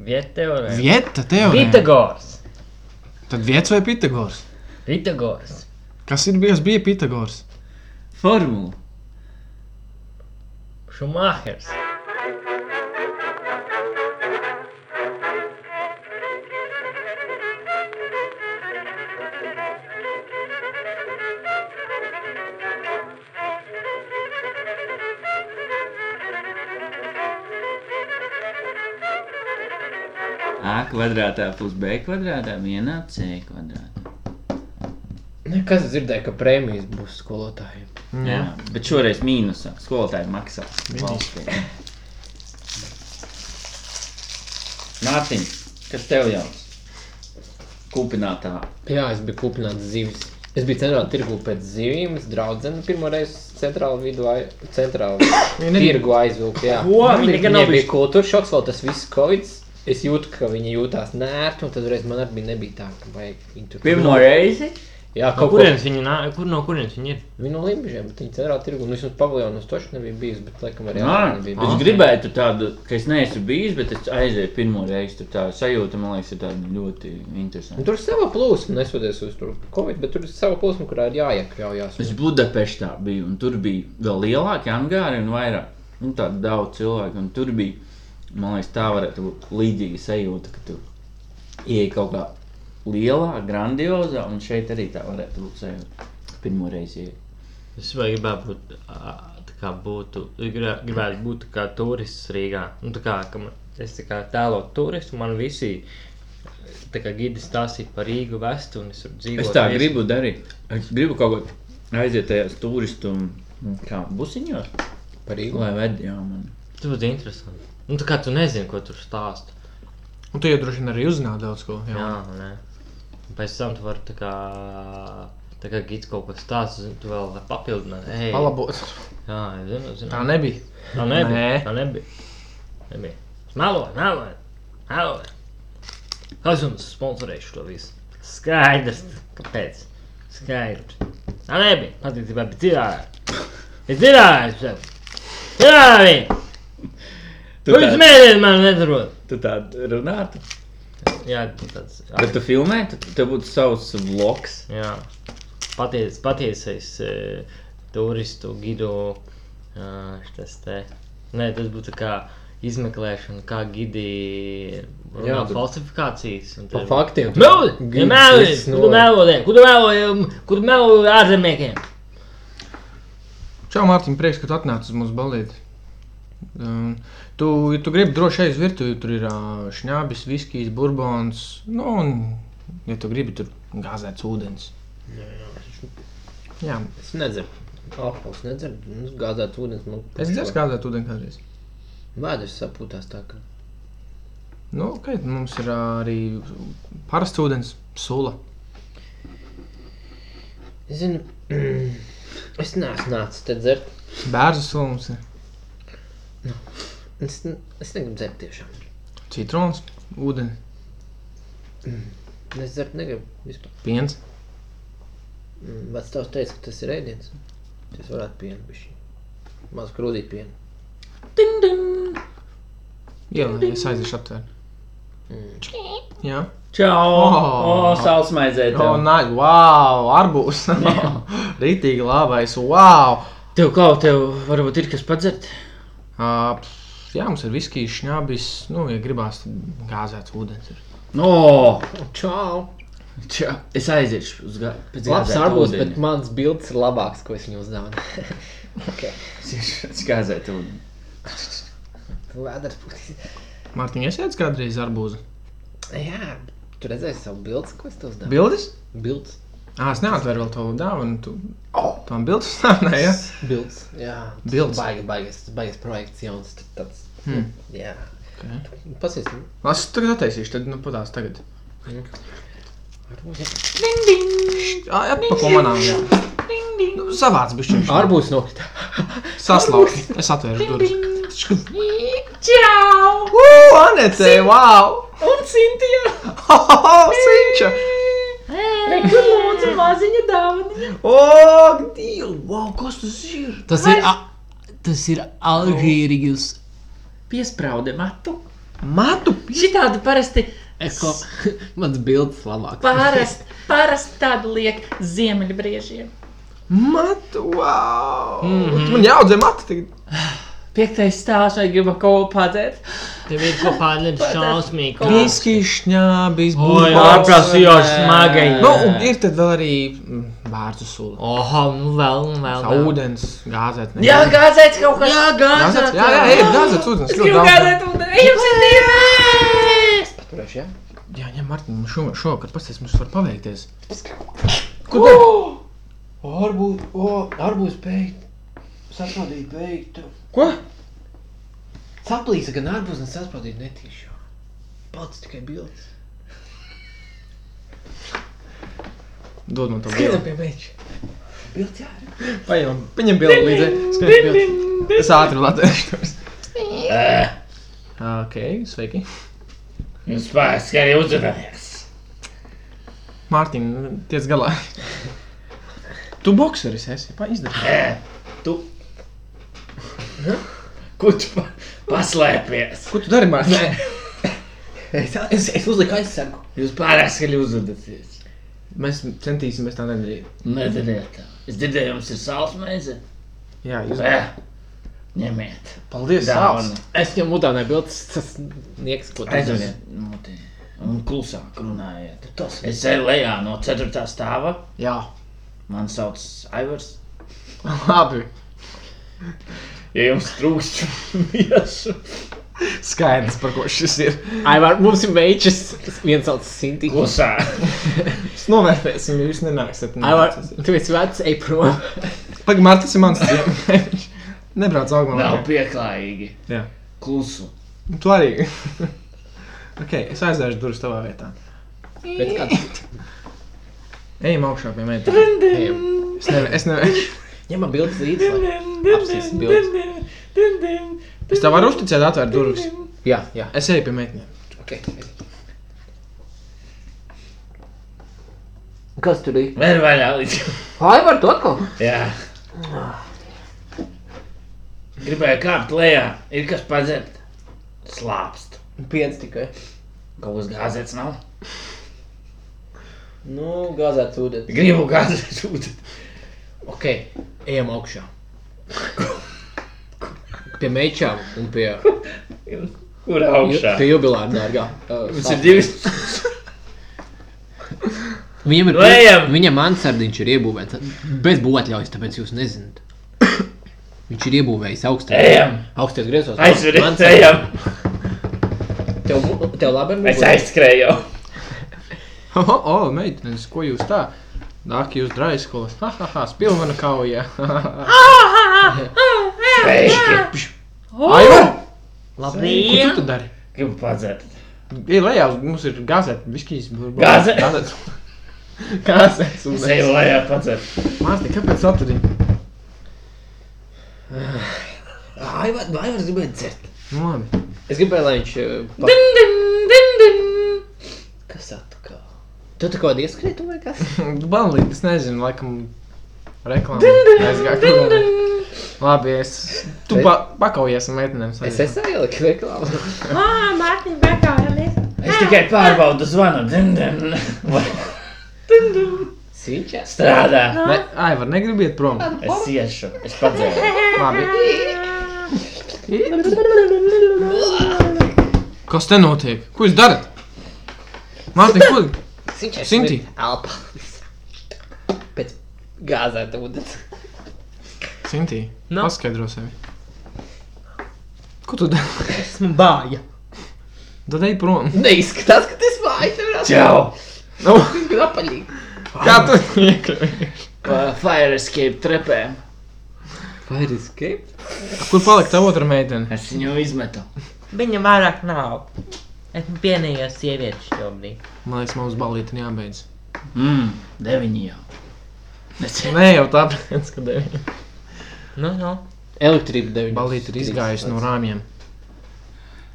[SPEAKER 8] Vieteorēm.
[SPEAKER 2] Vieta tev.
[SPEAKER 8] Pitagors.
[SPEAKER 2] Tad vietas vai Pitagors?
[SPEAKER 8] Pitagors.
[SPEAKER 2] Kas ir bijis bija Pitagors?
[SPEAKER 1] Formula.
[SPEAKER 8] Šumahers.
[SPEAKER 1] A kvadrātā plus B kvadrātā vienā C kvadrātā.
[SPEAKER 3] Kas dzirdēja, ka prēmijas būs skolotājiem?
[SPEAKER 1] Jā, bet šoreiz mīnusā skolotāji maksā valstī. Mārtiņ, kas tev jauns? Kūpinātā.
[SPEAKER 3] Jā, es biju kūpināts zivs. Es biju centrālajā tirgu pēc zivīm. Es draudzenu pirmo reizi centrālajā vidū, ai- centrālajā tirgu aizvilku. Jā,
[SPEAKER 8] Ko? Viņa
[SPEAKER 3] Viņai
[SPEAKER 8] gan nav
[SPEAKER 3] bija
[SPEAKER 8] bijusi-
[SPEAKER 3] kultūra šoks, vēl tas viss covid. Es jūtu, ka viņi jūtās nērti, un tad reiz man arī bija nebija tā, ka vajag viņu tur
[SPEAKER 1] Pirmo reizi?
[SPEAKER 3] Jā,
[SPEAKER 8] No
[SPEAKER 3] kaut kur.
[SPEAKER 8] kurienes viņi nāk? Kur no kurienes viņi ir?
[SPEAKER 3] Viņi no limbažiem, bet viņi centrālajā tirgu. Nu, vismaz paviljonos toši nebija bijis, bet laikam
[SPEAKER 8] Ah,
[SPEAKER 3] arī
[SPEAKER 1] Nā,
[SPEAKER 2] Ah,
[SPEAKER 3] ārā nebija.
[SPEAKER 1] es gribētu tādu, ka es neesmu bijis, bet es aizēju pirmo reizi. Tur tā sajūta, man liekas, ir tāda ļoti
[SPEAKER 3] Un
[SPEAKER 1] interesanta.
[SPEAKER 3] Tur ir sava plūsma, nesoties uz to covid, bet tur ir sava plūsma, kurā ir jāiekļaujas.
[SPEAKER 1] Es Budapeštā biju, un tur bija vēl lielāki angāri un vairāk. Un tādu daudz cilvēku, un tur bija, man liekas, tā varētu būt līdzīga sajūta, ka tu ieej kaut kā lielā, grandiozā, un šeit arī tā varētu būt sajūta. Pirmo reizi ieej.
[SPEAKER 8] Es vai gribētu būt, ā, tā kā būtu, gribē- gribētu būt tā kā turists Rīgā. Nu, tā kā, ka man, es tā kā tēlotu turistu, man visi, tā kā gidi stāstīja par Rīgu vestu, un es tur dzīvoju.
[SPEAKER 1] Es tā gribu darīt. Es gribu kaut ko aiziet tajās turistu un kā busiņos,
[SPEAKER 3] Par īlu.
[SPEAKER 1] lai vedītu mani.
[SPEAKER 8] Tas būtu interesanti. Nu, tā kā tu nezini, ko tur stāst.
[SPEAKER 2] Un tu jau droši vien arī uzzināji daudz ko.
[SPEAKER 8] Jā,
[SPEAKER 2] Jā.
[SPEAKER 8] nē. Un Pēc tam tu vari tā kā, tā kā gids kaut ko stāst, un tu vēl vari papildināt. Ej,
[SPEAKER 2] Palabot.
[SPEAKER 8] Jā, es zinu, zinu.
[SPEAKER 2] Tā nebija.
[SPEAKER 8] Tā nebija.
[SPEAKER 2] Nē.
[SPEAKER 8] Tā nebija. nebija. Meloja, meloja, meloja. Kas jums sponsorēšu to visu? Skaidrs, kāpēc. Skaidrs. Tā nebija. Patiesībā bija citādi. Es zināju, es tev. Citādi.
[SPEAKER 1] Tu
[SPEAKER 8] Kurš
[SPEAKER 1] tā,
[SPEAKER 8] mēdēļ man nedarot?
[SPEAKER 1] tu tā runātu?
[SPEAKER 8] Jā, tu tāds.
[SPEAKER 1] Bet tu filmē, tad tev būtu savs vlogs.
[SPEAKER 8] Jā. Paties, patiesais e, turistu gidu ā, šitas te. Nē, tas būtu kā izmeklēšana, kā gidi runā
[SPEAKER 3] Jā, bet-
[SPEAKER 8] falsifikācijas. un
[SPEAKER 3] Pa
[SPEAKER 8] tad-
[SPEAKER 3] faktiem.
[SPEAKER 8] Mēldi!
[SPEAKER 3] Gids
[SPEAKER 8] Mēldi!
[SPEAKER 3] viss
[SPEAKER 8] Kur tu mēldi? Kur tu mēldi? Kur tu mēldi ārzemniekiem?
[SPEAKER 2] Čau, Mārtiņ, prieks, ka tu atnāci uz mūsu balīti. Um, tu, ja tu gribi droši aiz virtuvi, tur ir uh, šņābis, viskijs, burbons. Nu, un, ja tu gribi, tur gāzēts ūdens. Jā,
[SPEAKER 3] Es nedzeru. Alkohols nedzeru. Nu, Gāzēts ūdens. Man,
[SPEAKER 2] es dzersu gāzēt ūdeni kādreiz.
[SPEAKER 3] Vēders sapūtās tā, ka.
[SPEAKER 2] Nu, okay, mums ir ā, arī parasts ūdens, sula.
[SPEAKER 3] Es zinu, es neesmu nācis te dzert.
[SPEAKER 2] Bērzu sula mums ir.
[SPEAKER 3] Es, ne- es negribu dzert tiešām.
[SPEAKER 2] Citrons, ūdeni,
[SPEAKER 3] Es dzert negribu vispār.
[SPEAKER 2] piens.
[SPEAKER 3] Mm, Vec tavs teica, ka tas ir ēdiens. Tas varētu pienu bišķi. Maz krūdīt pienu.
[SPEAKER 2] Jā, es aiziešu aptvērt.
[SPEAKER 3] Mm.
[SPEAKER 2] Jā.
[SPEAKER 1] Čau!
[SPEAKER 2] Oh.
[SPEAKER 1] O, salsmaizē
[SPEAKER 2] Oh,
[SPEAKER 1] tev!
[SPEAKER 2] nē, wow, arbūs. Rītīgi labais, wow.
[SPEAKER 11] Tev kaut kā, varbūt ir kas padzert?
[SPEAKER 2] Uh, jā, mums ir viskijas šņabis, nu, ja gribās, tad gāzēts ūdens ir.
[SPEAKER 1] No!
[SPEAKER 3] Čau!
[SPEAKER 1] Čau! Es aiziešu uz gāju. Pēc
[SPEAKER 3] Labs
[SPEAKER 1] gāzēta
[SPEAKER 3] arbūs,
[SPEAKER 1] ūdeņa.
[SPEAKER 3] bet mans bildes ir labāks, ko es viņam uzdāvināju.
[SPEAKER 1] Es iešu uz gāzēt ūdeni.
[SPEAKER 3] Vēders būtīs.
[SPEAKER 2] Mārtiņ, es ēdu kādreiz arbūzu.
[SPEAKER 3] Jā, tu redzēji savu bildes, ko es tev uzdevu.
[SPEAKER 2] Bildes?
[SPEAKER 3] Bildes.
[SPEAKER 2] Ā, es neatveru vēl tavu dāvanu, tu Oh, tam bildes stāvnē, jā?
[SPEAKER 3] Bildes. Jā,
[SPEAKER 2] Bildes.
[SPEAKER 3] Baigi, baigies, baigies projekts jauns. tad Tāds.
[SPEAKER 2] Hmm.
[SPEAKER 3] Jā.
[SPEAKER 2] Okay.
[SPEAKER 3] Pasies.
[SPEAKER 2] Es tagad attaisīšu, tad, nu, patās tagad. Št, ā, Atpako manām, jā. Nu, savāds bišķiņš.
[SPEAKER 3] Arbūs no.
[SPEAKER 2] Saslauki, es atvēršu durvis. Čau! Ū, Anete, wow! Un Sintīna! Ho, ho, ho, Sinča!
[SPEAKER 9] Nē, kur lūdzu? ir maziņa dāvana.
[SPEAKER 3] Oh, Dievs! Wow, kas tas ir?
[SPEAKER 4] Tas ir, a, tas ir Alžīrijas
[SPEAKER 11] Piespraude matu.
[SPEAKER 3] Matu!
[SPEAKER 11] Šitādi parasti,
[SPEAKER 3] Eko. Mans bildes labāk.
[SPEAKER 9] Parasti, parasti tādu liek ziemeļbriežiem.
[SPEAKER 3] Matu! Wow! Mm -hmm. Man jāaudzē matu tagad.
[SPEAKER 11] piektais stāsts, vai gribam kaut ko padzēt.
[SPEAKER 8] Tev ir kaut kāda šausmīga.
[SPEAKER 2] Viskišņābis
[SPEAKER 8] Oi, ārprasījoši smagai.
[SPEAKER 2] Nu, un ir tad vēl arī mm, vārdu sula.
[SPEAKER 8] Oha, nu vēl, nu vēl. vēl.
[SPEAKER 2] Ūdens, gāzēt. ne-
[SPEAKER 11] Jā, gāzēt kaut kas. Jā,
[SPEAKER 2] gāzēts. Jā, jā, ir gāzēts ūdens. ļoti
[SPEAKER 9] Gribu
[SPEAKER 2] daudz.
[SPEAKER 9] gādāt ūdeni. Ejam, sēdīsim!
[SPEAKER 3] Turēšu, jā?
[SPEAKER 2] Jā, jā, Martiņ, mums šo, šovakar pasies, mums var paveikties.
[SPEAKER 3] Arbūs, Oh! o, arbūs beigt. Sasmadīt beigtu.
[SPEAKER 2] Ko?
[SPEAKER 3] Saplīsa gan arbūs, ne sasmadīt netīšu. Pats tikai bildes.
[SPEAKER 2] Dod man to
[SPEAKER 3] Skrienam
[SPEAKER 2] bildi.
[SPEAKER 3] pie meča. Bildes jā.
[SPEAKER 2] Paņem, paņem bildi līdzi. Skrienam pie meča. Es ātri latviešu. Ok, sveiki.
[SPEAKER 11] Jūs pārsteigts, ka arī uzzinājāt.
[SPEAKER 2] Mārtiņ, tiec galā. Tu bokseris esi, pa izdari.
[SPEAKER 11] Kur tu pa- paslēpies?
[SPEAKER 2] Ko tu dari, Mārtiņ?
[SPEAKER 3] Es, es, es uzliku aizsargu.
[SPEAKER 11] Jūs pārsteigts, ka uzzinājāt.
[SPEAKER 2] Mēs centīsimies tā nedarīt.
[SPEAKER 11] Nedariet tā. Es dzirdēju, jums ir sāls maize.
[SPEAKER 2] Jā, jūs.
[SPEAKER 11] Ē, Ņemiet.
[SPEAKER 2] Paldies, Sāls.
[SPEAKER 11] Dāvana.
[SPEAKER 3] Es ņemu mutā ne bildes, tas nieks, ko tas ir.
[SPEAKER 11] Aizemiet. mutē Un klusāk runājiet. Tas es eju lejā no 4. stāva.
[SPEAKER 2] Jā,
[SPEAKER 11] Mani sauc Aivars.
[SPEAKER 2] labi.
[SPEAKER 11] Ja jums trūkst viesu,
[SPEAKER 2] Skaidrs, par ko šis ir.
[SPEAKER 3] Ai, var, mums ir mečas, viens sauc Sinti.
[SPEAKER 11] klusāk.
[SPEAKER 2] Mēs novērtēsim, ja jūs nenāksiet.
[SPEAKER 3] Ai, var, tu esi vecs, ej prom.
[SPEAKER 2] Pagaid, Mārtiņ, tas ir mans. ciemiņš. Nebrauc augumā.
[SPEAKER 11] Nav pieklājīgi.
[SPEAKER 2] Jā.
[SPEAKER 11] Klusu.
[SPEAKER 2] Tu arī. ok, es aiziešu durvis tavā vietā.
[SPEAKER 3] Bet kāds?
[SPEAKER 2] Ejam augšā pie meitenes.
[SPEAKER 3] Ejam.
[SPEAKER 2] Es nevaru. Es, nevar...
[SPEAKER 3] Ņemam bildes līdzi, lai apsīsim bildes.
[SPEAKER 2] es tev varu uzticēt, atvērt durvis.
[SPEAKER 3] Jā, jā.
[SPEAKER 2] Es eju pie meitenēm.
[SPEAKER 3] Ok. Kas tur bija?
[SPEAKER 11] Vēl vaļā līdz.
[SPEAKER 3] Ai, var to atkal?
[SPEAKER 11] Jā. Gribēju kāpt lejā. Ir kas padzert. Slāpst.
[SPEAKER 3] Piens tikai.
[SPEAKER 11] Kaut kas gāzēts nav.
[SPEAKER 3] Nu, gāzēt ūdeni.
[SPEAKER 11] Gribu gāzēt ūdeni.
[SPEAKER 3] Ok, ejam augšā. Pie mečām un pie,
[SPEAKER 11] Kur augšā?
[SPEAKER 3] pie jubilāra dārgā.
[SPEAKER 11] Mums ir divi.
[SPEAKER 3] Viņam
[SPEAKER 11] Nu,
[SPEAKER 3] ir
[SPEAKER 11] Lejam!
[SPEAKER 3] Viņam mansardiņš ir iebūvēts. Bez būvētļaujas, tāpēc jūs nezināt. Viņš ir iebūvējis augstāk.
[SPEAKER 11] Ejam!
[SPEAKER 3] Augsties griezos.
[SPEAKER 11] Aizveriet,
[SPEAKER 3] Mansardiņš.
[SPEAKER 11] ejam!
[SPEAKER 3] Tev, bu- tev labi ir
[SPEAKER 11] Es aizskrēju.
[SPEAKER 2] O, oh, oh, meitenes, ko jūs tā? Nāk, jūs draiskolas. Ha, ha, ha, spilvena kaujā. Ah,
[SPEAKER 11] Pēkšņi.
[SPEAKER 2] Ai, var? Ko
[SPEAKER 8] Labi.
[SPEAKER 2] tu tu dari?
[SPEAKER 11] Gribu padzert.
[SPEAKER 2] Ir lejā, uz- mums ir gazete, viskijas.
[SPEAKER 11] Gazete?
[SPEAKER 2] Gazete.
[SPEAKER 11] Es eju lejā padzert.
[SPEAKER 2] Mārtiņ, kāpēc saturi?
[SPEAKER 3] Ai, vai, vai var gribēt dzert?
[SPEAKER 2] Nu, labi.
[SPEAKER 3] Es gribēju, lai viņš... eh, Pa...
[SPEAKER 9] Din, din, din, din.
[SPEAKER 3] Kas atkal? Tu tā kā ieskrēji vai kas?
[SPEAKER 2] Banlīt, es nezinu, laikam reklāmas aizgāja. kaut kur. Labi, es. Tu
[SPEAKER 3] Bet-
[SPEAKER 2] pa, pakaujies ar meitenēm.
[SPEAKER 3] Es esmu ieliku reklāmu.
[SPEAKER 9] Ā,
[SPEAKER 11] Ah,
[SPEAKER 9] Mārtiņ, bekājamies.
[SPEAKER 11] Es tikai pārbaudu zvanu. Dim, dim. Vai
[SPEAKER 3] Sinčā.
[SPEAKER 11] Strādā.
[SPEAKER 2] Ne, ai, var negribiet prom.
[SPEAKER 11] Es iešu. Es padzēru.
[SPEAKER 2] Labi. Kas te notiek? Ko jūs darat? Mārtiņ, ko?
[SPEAKER 3] Sinčā.
[SPEAKER 2] Sinti.
[SPEAKER 3] Alpa. Pēc gāzēta ūdens.
[SPEAKER 2] Sintī,
[SPEAKER 8] Nu?
[SPEAKER 2] no. paskaidro sevi. Ko tu dari?
[SPEAKER 8] Esmu bāja.
[SPEAKER 2] Tad ej prom.
[SPEAKER 3] Neizskatās, ka tas vājas. Tev ir acis
[SPEAKER 11] Čau!
[SPEAKER 2] Nu,
[SPEAKER 3] apaļīgi.
[SPEAKER 2] kā tu iekļuvi?
[SPEAKER 11] Pa Fire escape trepēm.
[SPEAKER 3] Fire escape?
[SPEAKER 2] Kur palika tā otra meitene?
[SPEAKER 11] Es viņu izmetu.
[SPEAKER 8] Viņa vairāk nav. Esmu vienīgā sieviete šobrīd.
[SPEAKER 2] Man liekas, mums balīti jābeidz.
[SPEAKER 11] Mmm, deviņi jau. Es
[SPEAKER 2] Nē, jau tāpēc, ka deviņi.
[SPEAKER 8] Nu, nu.
[SPEAKER 3] Elektrība 9.
[SPEAKER 2] Balīti ir izgājusi no rāmjiem.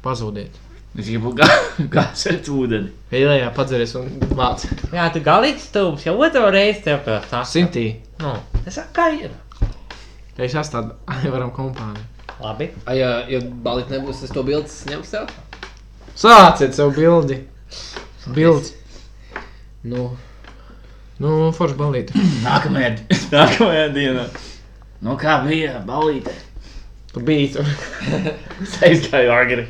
[SPEAKER 2] Pazūdiet.
[SPEAKER 1] Es gribu gā- gāzēt ūdeni.
[SPEAKER 2] Vēlējā padzeries un vāc.
[SPEAKER 8] Jā, tu galīgi stūps, jau otru reizi tev to sāc.
[SPEAKER 2] Simtī.
[SPEAKER 8] Nu, tas kā ir.
[SPEAKER 2] Es esmu tādā varam kompānija.
[SPEAKER 8] Labi.
[SPEAKER 3] Ai, ja, ja balīt nebūs, es to bildes ņemšu tev.
[SPEAKER 2] Sāciet savu bildi. Bilds.
[SPEAKER 3] Nu,
[SPEAKER 2] Nu, forši balīt.
[SPEAKER 11] Nākamajā, di-
[SPEAKER 1] Nākamajā dienā
[SPEAKER 11] nu kā bija, balīte.
[SPEAKER 2] Tu biji tur.
[SPEAKER 1] es aizgāju agri.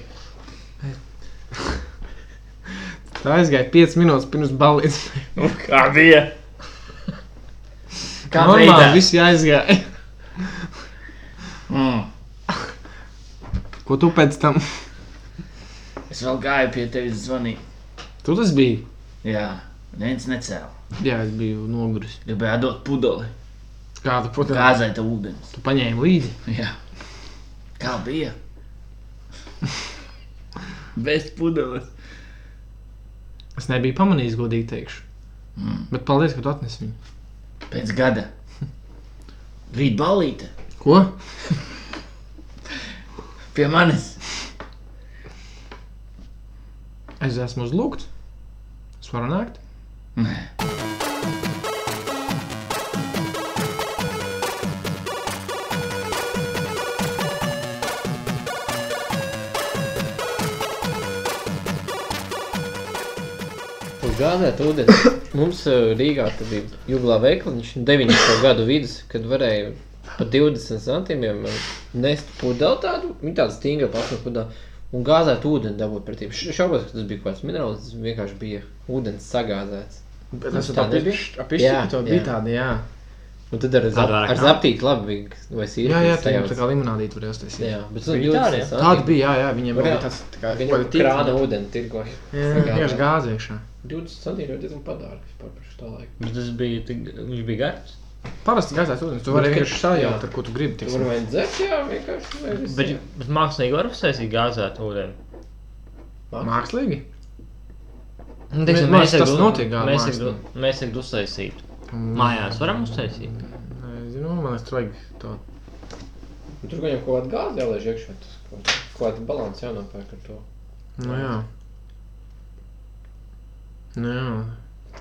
[SPEAKER 2] Tā aizgāja 5 minūtes pirms balīdzes.
[SPEAKER 1] Nu, kā bija?
[SPEAKER 2] Kā
[SPEAKER 1] veidā?
[SPEAKER 2] normāli viss aizgāja.
[SPEAKER 11] Mm.
[SPEAKER 2] Ko tu pēc tam?
[SPEAKER 11] Es vēl gāju pie tevis zvanīt.
[SPEAKER 2] Tu tas biji.
[SPEAKER 11] Jā, neviens necēla.
[SPEAKER 2] Jā, es biju noguris.
[SPEAKER 11] Gribēju dot pudeli,
[SPEAKER 2] Kādu protams,
[SPEAKER 11] gāzēta ūdens.
[SPEAKER 2] tu paņēmi līdzi?
[SPEAKER 11] Jā. Kā bija? Bez pudeles.
[SPEAKER 2] Es nebiju pamanījis, godīgi teikšu. Mm. Bet paldies, ka tu atnesi viņu.
[SPEAKER 11] Pēc gada. Rīt balīte
[SPEAKER 2] Ko?
[SPEAKER 11] pie manis.
[SPEAKER 2] Es esmu uzlūgts. Es varu nākt.
[SPEAKER 3] uz gāzēta ūdeni. Mums eh, Rīgā tad bija jūglā veikaliņš 90. gadu vidus, kad varēja pa 20 centimiem eh, nest pudeli tādu, viņa tāda stingra pasmu pudeli. Un gāzēt ūdeni dabūt pretī. Es šaubos, ka tas bija kaut kāds minerāls, tas vienkārši bija ūdens sagāzēts.
[SPEAKER 2] Bet
[SPEAKER 3] Nu,
[SPEAKER 2] es
[SPEAKER 3] tā
[SPEAKER 2] tādu
[SPEAKER 3] nebija?
[SPEAKER 2] biju.
[SPEAKER 3] Jā,
[SPEAKER 2] Apišķi, to
[SPEAKER 3] jā.
[SPEAKER 2] bija tāda, jā.
[SPEAKER 3] Un Nu, tad ar, zap,
[SPEAKER 8] vairāk
[SPEAKER 3] ar
[SPEAKER 8] nav.
[SPEAKER 3] zaptīti labi bija, vai sīri.
[SPEAKER 2] Jā, jā, tā jau tā kā limonādīt varēja uztaisīt.
[SPEAKER 3] Jā, bet tas
[SPEAKER 8] Bija tāda, jā?
[SPEAKER 2] Tāda bija, jā, jā, viņiem
[SPEAKER 3] Varēja.
[SPEAKER 2] bija tāds tā kā
[SPEAKER 3] Viņa
[SPEAKER 2] kaut kāda
[SPEAKER 3] krāna ūdeni tirgoja.
[SPEAKER 2] Jā, vienkārši gāziešā.
[SPEAKER 3] 20 centimetri ir diezgan padārgi vispār par šo laiku.
[SPEAKER 8] Bet tas bija, tik- viņš bija garš.
[SPEAKER 2] Parasti gāzēs ūdens, tu vari
[SPEAKER 3] kad-
[SPEAKER 2] vienkārši sajaukt,
[SPEAKER 3] jā.
[SPEAKER 2] ar ko tu gribi.
[SPEAKER 3] Tur
[SPEAKER 2] tiksim.
[SPEAKER 3] vajag dzert, jā, vienkārši. vai viss,
[SPEAKER 8] Bet,
[SPEAKER 3] jā.
[SPEAKER 8] bet mākslinieki var uztaisīt gāzētu ūdeni.
[SPEAKER 2] Mākslīgi?
[SPEAKER 8] Nu,
[SPEAKER 2] Mē- mākslinieks tas notiek gā-
[SPEAKER 8] mēs
[SPEAKER 2] mākslā.
[SPEAKER 8] tagad- mēs tagad uztaisītu.
[SPEAKER 2] Mm.
[SPEAKER 8] Mājās varam uztaisīt.
[SPEAKER 2] Nezinu, man liekas, tur vajag to.
[SPEAKER 3] Tur gan jau kaut kāda gāze jālaiž iekšā, tas kaut kāda balanss jānopērk ar to.
[SPEAKER 2] Nu jā. Nu jā.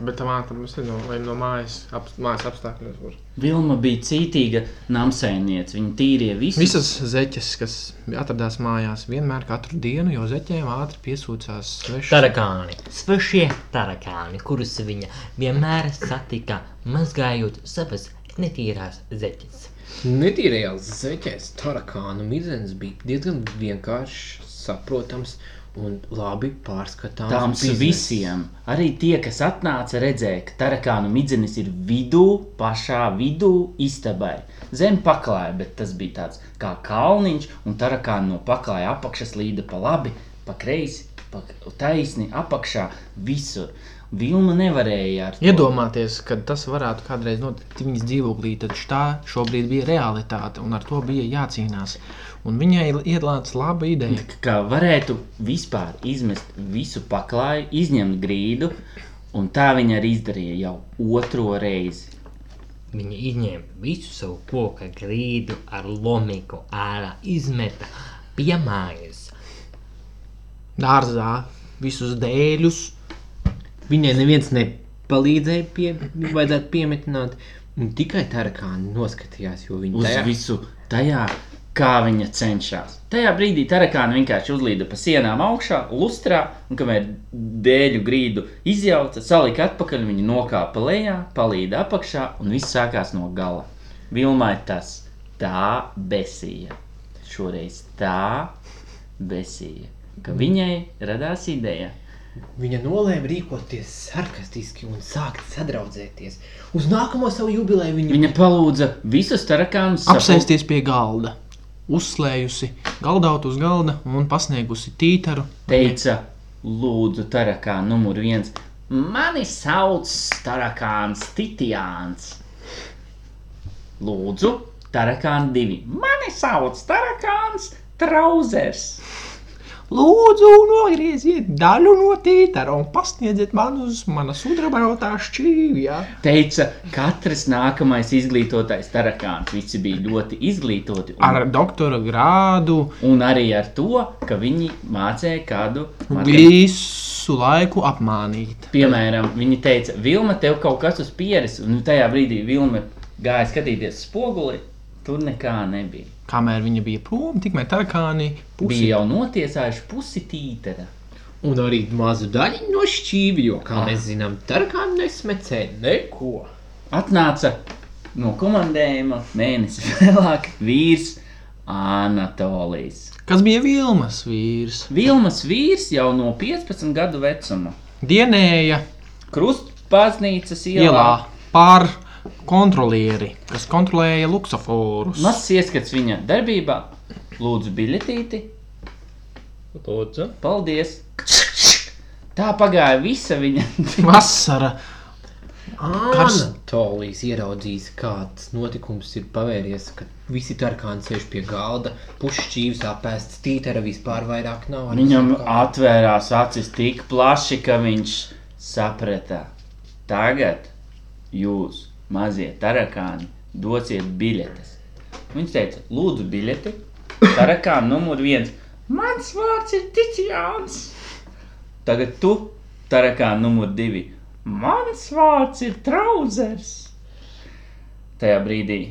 [SPEAKER 2] Bet tā māte mums ir no, vai no mājas, ap, mājas apstākļos. Var.
[SPEAKER 11] Vilma bija cītīga namsēniece. Viņa tīrīja visu.
[SPEAKER 2] Visas zeķes, kas atradās mājās, vienmēr katru dienu, jo zeķiem ātri piesūcās svešas.
[SPEAKER 8] Tarakāni. Svešie tarakāni, kurus viņa vienmēr satika, mazgājot savas netīrās zeķes.
[SPEAKER 3] Netīrajās zeķēs tarakānu mizens bija diezgan vienkāršs, saprotams un labi pārskatāms.
[SPEAKER 11] Tām
[SPEAKER 3] biznes.
[SPEAKER 11] visiem. Arī tie, kas atnāca, redzēja, ka tarakānu midzenis ir vidū, pašā vidū istabai. Zem paklāja, bet tas bija tāds kā kalniņš, un tarakāni no paklāja apakšas līda pa labi, pa kreisi, pa taisni, apakšā visur. Vilma nevarēja ar to.
[SPEAKER 2] Iedomāties, ka tas varētu kādreiz notikt viņas dzīvoklī, tad tā šobrīd bija realitāte, un ar to bija jācīnās. Un viņai iedlāca laba ideja.
[SPEAKER 11] ka varētu vispār izmest visu paklāju, izņemt grīdu, un tā viņa arī izdarīja jau otro reizi.
[SPEAKER 8] Viņa izņēma visu savu koku grīdu ar lomiku ārā, izmeta pie mājas.
[SPEAKER 2] Dārzā visus dēļus.
[SPEAKER 3] Viņai neviens nepalīdzēja, pie, vajadzētu piemetināt. Un tikai tarakāni noskatījās, jo viņi
[SPEAKER 11] Uz
[SPEAKER 3] tajā
[SPEAKER 11] tajā. visu tajā, kā viņa cenšas. Tajā brīdī tarakāna vienkārši uzlīda pa sienām augšā, lustrā, un kamēr dēļu grīdu izjauca, salika atpakaļ, viņa nokāpa lejā, palīda apakšā, un viss sākās no gala. Vilmai tas tā besīja. Šoreiz tā besīja, ka viņai radās ideja.
[SPEAKER 3] Viņa nolēma rīkoties sarkastiski un sākt sadraudzēties. Uz nākamo savu jubileju viņa,
[SPEAKER 11] Viņa palūdza visus tarakānus sapul-
[SPEAKER 2] apsēsties pie galda, uzslēgusi galdautu uz galda un pasniegusi tītaru.
[SPEAKER 11] teica, lūdzu, tarakā numur viens. Mani sauc Tarakāns Titiāns. Lūdzu, Tarakāns divi. Mani sauc Tarakāns Trauzers.
[SPEAKER 2] Lūdzu, nogrieziet daļu no tītara un pasniedziet man uz manas sudrabautā šķīvja.
[SPEAKER 11] Teica, katrs nākamais izglītotais tarakāns. Visi bija ļoti izglītoti. Un,
[SPEAKER 2] Ar doktora grādu
[SPEAKER 11] un arī ar to, ka viņi mācīja kādu matemātiku.
[SPEAKER 2] visu laiku apmānīt.
[SPEAKER 11] Piemēram, viņi teica, Vilma, tev kaut kas uz pieres, un tajā brīdī Vilma gāja skatīties spoguli. Tur nekā nebija.
[SPEAKER 2] Kamēr viņa bija prom, tikmēr tarakāni
[SPEAKER 11] Bija jau notiesājuši pusi tītara.
[SPEAKER 3] Un arī mazu daļu no šķīvja, jo, kā mēs zinām, tarkām nesmecē neko.
[SPEAKER 11] Atnāca no komandējuma mēnesi vēlāk vīrs Anatolijas.
[SPEAKER 2] kas bija Vilmas vīrs.
[SPEAKER 11] Vilmas vīrs jau no 15 gadu vecuma.
[SPEAKER 2] Dienēja
[SPEAKER 11] Krustpāznīcas ielā.
[SPEAKER 2] ielā pār kontrolieri, kas kontrolēja luksusforus.
[SPEAKER 11] Mazs ieskats viņa darbībā. Lūdzu, biļetīti.
[SPEAKER 8] Lūdzu.
[SPEAKER 11] Paldies! Tā pagāja visa viņa dzīve.
[SPEAKER 2] Vasara Kars-
[SPEAKER 3] Anatolijas ieraudzījis, kāds notikums ir pavērties, kad visi tarkāni sēž pie galda, pušķīvis apēsts, tītara vispār vairs nav. arī
[SPEAKER 11] Viņam
[SPEAKER 3] sakām.
[SPEAKER 11] atvērās acis tik plaši, ka viņš saprata. Tagad jūs, mazie tarakāni, dosiet biļetes. Viņš teica, lūdzu, biļeti. Tarakāna numur viens. Mans vārds ir Ticijāns. Tagad tu, tarakāna numur divi. Mans vārds ir Trauzers. Tajā brīdī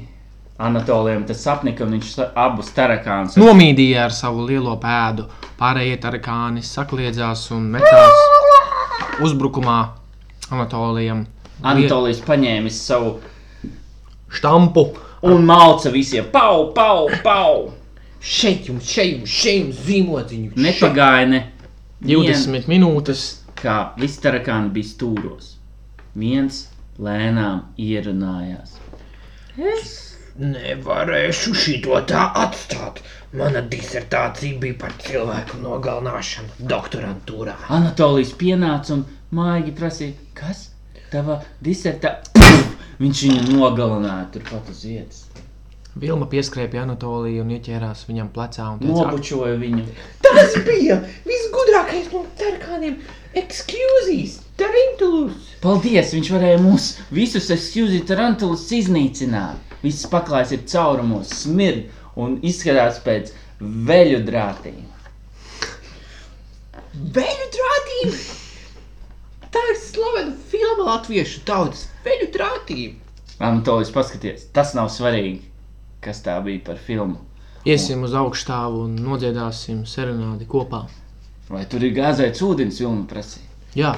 [SPEAKER 11] Anatolijam tas sapnika, un viņš sa- abus tarakānus
[SPEAKER 2] nomīdīja ar savu lielo pēdu. Pārējie tarakāni sakliedzās un metās uzbrukumā Anatolijam.
[SPEAKER 11] Anatolijs paņēma savu
[SPEAKER 2] Štampu
[SPEAKER 11] un malca visiem pau, pau, pau.
[SPEAKER 3] Šeit jums, šeit jums, šeit jums zīmodziņu.
[SPEAKER 11] Nepagāja ne
[SPEAKER 2] 20 minūtes.
[SPEAKER 11] vien, kā visi tarakāni bija stūros. Viens lēnām ierunājās.
[SPEAKER 3] Nevarēšu šito tā atstāt. Mana disertācija bija par cilvēku nogalināšanu doktorantūrā.
[SPEAKER 11] Anatolijs pienāca un maigi prasīja, kas tava disertā. Viņš viņu nogalināja turpat uz vietas.
[SPEAKER 2] Vilma pieskrēja pie Anatolija un ieķērās viņam plecā. un teica, "Ak,
[SPEAKER 11] Nobučoja viņu.
[SPEAKER 3] Tas bija visgudrākais no tarkāniem. Excuse, tarantulus!
[SPEAKER 11] Paldies! Viņš varēja mūs visus, excuse, tarantulas iznīcināt. Viss paklājs ir caurumos, smird un izskatās pēc veļu drātiem.
[SPEAKER 3] Veļu trātība! Tā ir slavena filma latviešu tautas veļu trātība!
[SPEAKER 11] Anatolijs, paskatieties, tas nav svarīgi, kas tā bija par filmu.
[SPEAKER 2] Iesim uz augstāvu un nodziedāsim serenādi kopā.
[SPEAKER 11] Vai tur ir gāzēts ūdens, vilna prasīja?
[SPEAKER 2] Jā,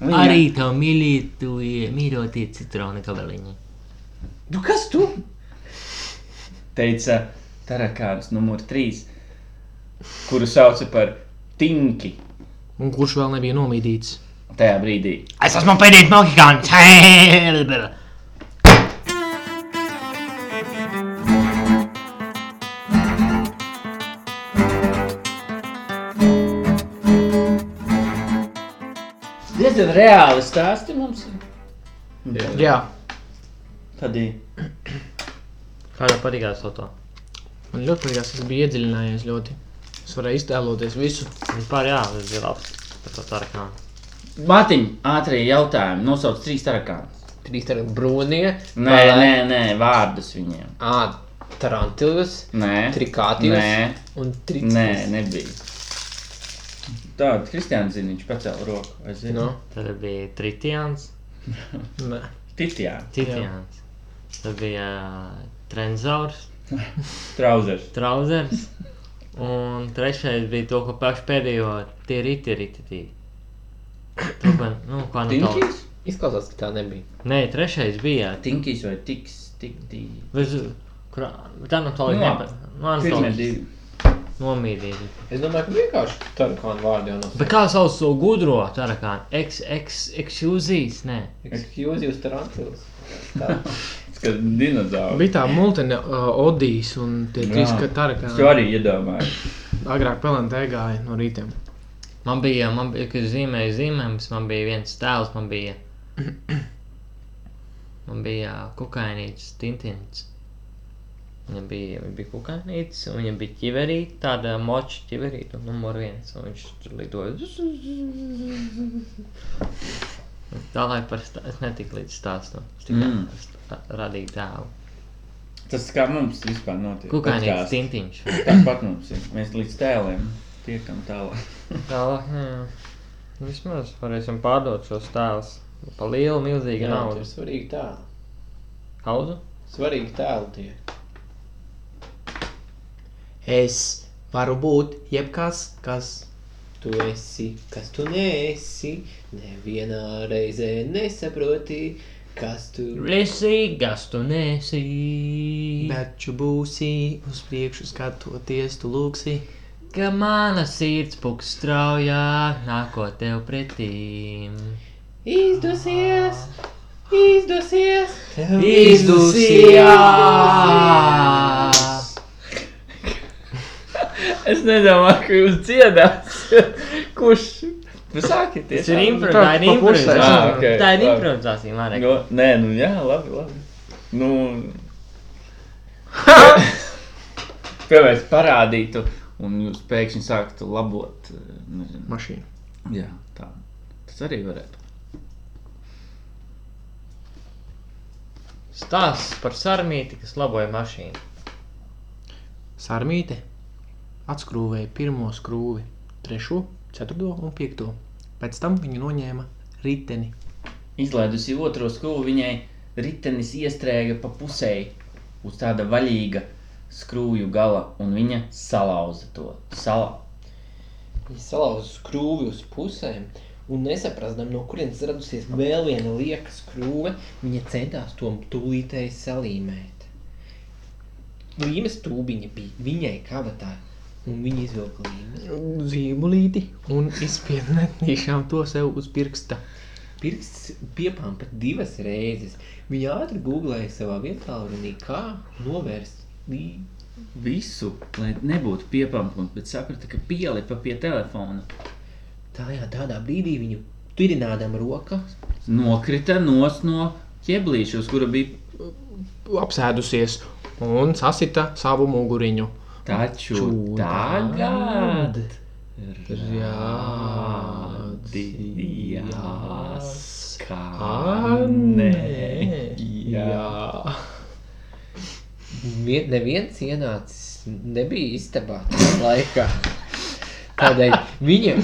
[SPEAKER 11] Arī
[SPEAKER 8] tā mīlītie, mīļotie citroni kabeliņi.
[SPEAKER 3] Nu kas tu?
[SPEAKER 11] teica Tarakāns numur 3, kuru sauca par Tinki.
[SPEAKER 2] un kurš vēl nebija nomīdīts?
[SPEAKER 11] Tajā brīdī
[SPEAKER 8] Es esmu pēdējais Melkigāns.
[SPEAKER 11] diezgan reāli stāsti mums.
[SPEAKER 2] Jā,
[SPEAKER 11] Tad ir
[SPEAKER 8] Kā jau patīkās to?
[SPEAKER 2] man ļoti patīk, tas bija iedziļinājies ļoti. Es varēju iztēloties visu.
[SPEAKER 8] Vispār jā, tas bija labs. Par to tarakānu.
[SPEAKER 11] Matiņa ātrie jautājumi. Nosauc trīs tarakānus.
[SPEAKER 3] Trīs tādi brūnie,
[SPEAKER 11] Nē, nē, nē, vārdus viņiem.
[SPEAKER 3] ā, tarantulas,
[SPEAKER 11] Nē,
[SPEAKER 3] trikātījus
[SPEAKER 11] Nē.
[SPEAKER 3] un
[SPEAKER 11] nē
[SPEAKER 3] tricītis.
[SPEAKER 11] nebija. Tā, Kristiāns zina, viņš pacēla roku. Es zinu,
[SPEAKER 3] No.
[SPEAKER 11] no.
[SPEAKER 8] Tad bija Tritians.
[SPEAKER 2] Nē.
[SPEAKER 11] Titjāns,
[SPEAKER 8] Tritians. Tad bija ā, Trenzaurs,
[SPEAKER 11] trauzers.
[SPEAKER 8] Trauzers. Un trešais bija to, ko pašu pēdējo tie rīti, rīti, tī. To, ko, nu, ko Anatolijs.
[SPEAKER 11] Tinkijs?
[SPEAKER 3] Izklausās, ka tā nebija.
[SPEAKER 8] Nē, trešais bija.
[SPEAKER 11] Tinkijs vai tiks, tik tīk.
[SPEAKER 8] Bez, kurā, bet Anatolija
[SPEAKER 11] Nu,
[SPEAKER 8] nepa... Nu, Anatolija nomīdīja.
[SPEAKER 3] Es domāju, ka vienkārši tarakānu vārdi jau nav.
[SPEAKER 8] Bet kā sauc to gudro tarakānu? Ex, ex, excusīs, nē.
[SPEAKER 3] Excuse, jūs tarantulas.
[SPEAKER 11] Kad dinozauri
[SPEAKER 2] Bija tā monēta, uh, Odīs un tie trīs
[SPEAKER 11] Jā.
[SPEAKER 2] katari,
[SPEAKER 11] Es to
[SPEAKER 2] kā
[SPEAKER 11] arī iedomājos.
[SPEAKER 2] agrāk pelnīja gāja no rīta.
[SPEAKER 8] Man bija, man bija, kad zīmēju zīmējumus, man bija viens tēls, man bija... Man bija kukainīts, tintinīts. Viņam bija, viņam bija kukainītis, un viņam bija ķiverīte, tāda moča ķiverīte, un numur viens, un viņš tur lidoja. Tālāk par stā... es netiku līdz stāstam. Es tikai
[SPEAKER 1] Mm.
[SPEAKER 8] mm. radīju tēlu.
[SPEAKER 1] Tas kā mums vispār notiek.
[SPEAKER 8] Kukainītis,
[SPEAKER 1] Podcasts.
[SPEAKER 8] tintiņš.
[SPEAKER 1] Tāpat mums ir. Mēs līdz tēliem tiekam tālāk.
[SPEAKER 8] Tālāk, jā. Vismaz varēsim pārdot šos tēlus. Pa lielu, milzīgu
[SPEAKER 3] Jā, tie
[SPEAKER 8] naudu.
[SPEAKER 3] ir svarīgi tēli.
[SPEAKER 8] Hauzu?
[SPEAKER 3] Svarīgi tēli tie.
[SPEAKER 4] Es varu būt jebkas, kas
[SPEAKER 3] Tu esi, kas tu neesi, nevienā reizē nesaproti, kas tu
[SPEAKER 8] Esi gastonēsi,
[SPEAKER 4] bet tu būsi uz priekšu skatoties, tu lūksi.
[SPEAKER 8] ka mana sirds puks straujā, nākot tev pretī.
[SPEAKER 3] izdosies, izdosies, tev
[SPEAKER 4] Izdusījās!
[SPEAKER 1] Es nedomāju, ka jūs dziedāt. Kurš? Jūs
[SPEAKER 8] Tas
[SPEAKER 1] sākieties.
[SPEAKER 8] ir impro- tā ir improvizācija.
[SPEAKER 1] Ah, ok,
[SPEAKER 8] Tā ir
[SPEAKER 1] labi.
[SPEAKER 8] improvizācija, Marek.
[SPEAKER 1] No, nē, nu jā, labi, labi. Nu, Piemēram, parādītu, un jūs pēkšņi sāktu labot. eh, Nezinu.
[SPEAKER 2] Mašīna.
[SPEAKER 1] Jā, tā. Tas arī varētu.
[SPEAKER 8] Stāsts par sarmīti, kas laboja mašīnu.
[SPEAKER 2] Sarmīte atskrūvēja pirmo skrūvi, trešo, ceturto un piekto. Pēc tam viņa noņēma riteni.
[SPEAKER 11] Izlaidusi otro skolu, viņai ritenis iestrēga pa pusēji uz tāda vaļīga skrūju gala, un viņa salauza to. Sala.
[SPEAKER 3] Viņa salauza skrūvi uz pusēm. Un nesaprastam, no kurienes radusies vēl viena lieka skrūve, viņa centās to tūlītēji salīmēt. Līmes tūbiņa bija viņai kabatā, un viņa izvilka līmes.
[SPEAKER 2] Zīmolīti un izspiednē tiešām to sev uz pirksta.
[SPEAKER 3] Pirksts piepām pat divas reizes. Viņa ātri googlēja savā vietā, runī, kā novērst lī-
[SPEAKER 1] Visu, lai nebūtu piepampums, bet saprata, ka pielipa pie telefona.
[SPEAKER 3] Tajā tādā brīdī viņu turinādama roka
[SPEAKER 1] Nokrita nos no ķeblīša, uz kura bija
[SPEAKER 2] Apsēdusies un sasita savu muguriņu.
[SPEAKER 1] taču.
[SPEAKER 2] Čū,
[SPEAKER 1] Tagad!
[SPEAKER 2] Jā,
[SPEAKER 1] Jāskanē. Jā.
[SPEAKER 3] Vie- Neviens ienācis, nebija istabā tajā laikā. Tādēļ viņa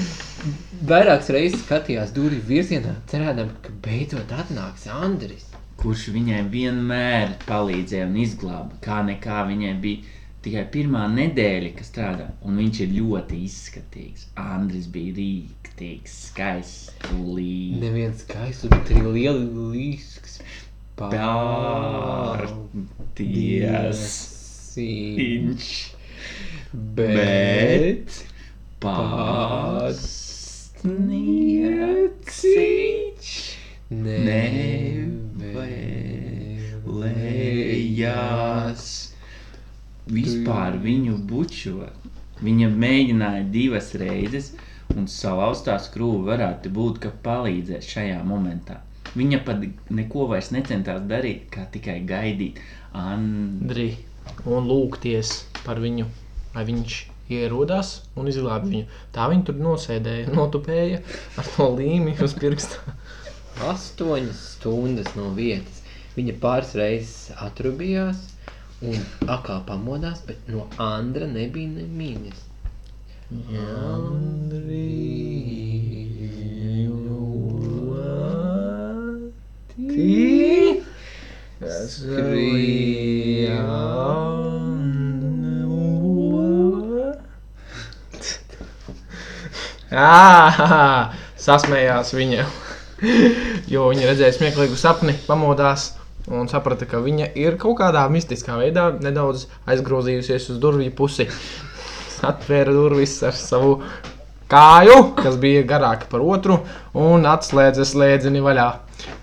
[SPEAKER 3] vairākas reizes skatījās durvju virzienā, cerēdama, ka beidzot atnāks Andris.
[SPEAKER 1] Kurš viņai vienmēr palīdzēja un izglāba, kā nekā viņai bija. Tikai pirmā nedēļa, kas strādā, un viņš ir ļoti izskatīgs. Andris bija rīktīgs, skaists, līnijas.
[SPEAKER 3] Neviens skaists, bet arī lielisks
[SPEAKER 1] Pārties.
[SPEAKER 3] pārdzīvs.
[SPEAKER 1] Viņš.
[SPEAKER 3] Bet
[SPEAKER 1] Pasniedzis nevēlējās vispār viņu bučot. Viņa mēģināja divas reizes, un salauztā skrūve varētu būt, ka palīdzēs šajā momentā. Viņa pat neko vairs necentās darīt, kā tikai gaidīt. An...
[SPEAKER 2] Andri un lūgties par viņu, lai viņš ierodas un izglābj viņu. Tā viņa tur nosēdēja, notupēja ar to līmi uz pirksta.
[SPEAKER 3] astoņas stundas no vietas. Viņa pāris reizes atrubījās un atkal pamodās, bet no Andra nebija nemīļas.
[SPEAKER 2] Ah, sasmējās viņa. Jo viņa redzēja smieklīgu sapni, pamodās un saprata, ka viņa ir kaut kādā mistiskā veidā nedaudz aizgrozījusies uz durvju pusi. Atvēra durvis ar savu kāju, kas bija garāka par otru, un atslēdza slēdzeni vaļā.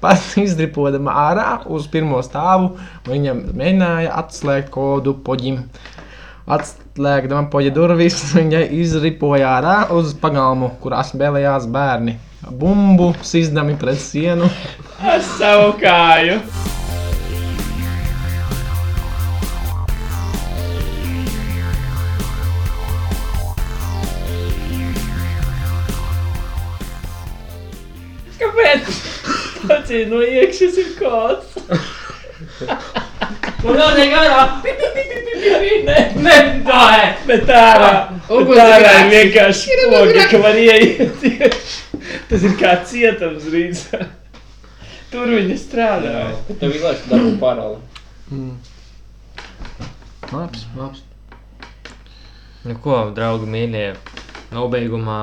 [SPEAKER 2] Pats izdripodama ārā uz pirmo stāvu, viņa mēģināja atslēgt kodu poģim. Atslēgdama poģa durvis, viņa izripoja ārā uz pagalmu, kurā spēlējās bērni. Bumbu sizdami pret sienu.
[SPEAKER 1] Ar savu kāju!
[SPEAKER 11] Kāpēc? Pacī, no iekšas ir kods.
[SPEAKER 13] Un vēl tiek ārā.
[SPEAKER 11] Nē, nē, tā ir. Bet tā ir. Nu, Tā ir vienkārši spoga, ka var ieiet. Tas ir kā cietums rīzāk. Tur viņi strādā.
[SPEAKER 3] Tev vienkārši dabū parāli.
[SPEAKER 14] Labs, labs.
[SPEAKER 8] Nu ko, draugi mīļie, nobeigumā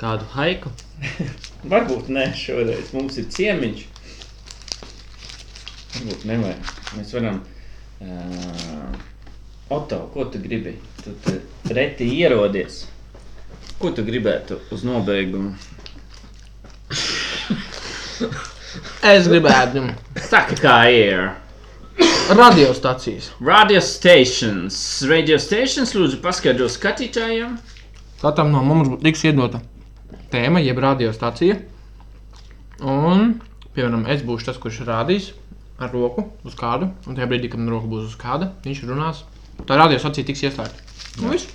[SPEAKER 8] kādu haiku?
[SPEAKER 11] Varbūt nē, šoreiz mums ir ciemiņš. Varbūt nevajag. Mēs varam. Uh, Oto, ko tu gribi? Tu te reti ierodies. Ko tu gribētu uz nobeigumu?
[SPEAKER 2] Es gribētu viņam
[SPEAKER 11] Saka, kā ir.
[SPEAKER 2] radiostacijas.
[SPEAKER 11] Radio stations. Radio stations lūdzu paskaidro skatītājiem.
[SPEAKER 2] Katram no mums bū- tiks iedota tēma, jeb radiostacija. Un, piemēram, es būšu tas, kurš rādīs ar roku uz kādu, un tajā brīdī, kad man roka būs uz kāda, viņš runās. Tā radiostacija tiks ieslēgta. Nu, viss.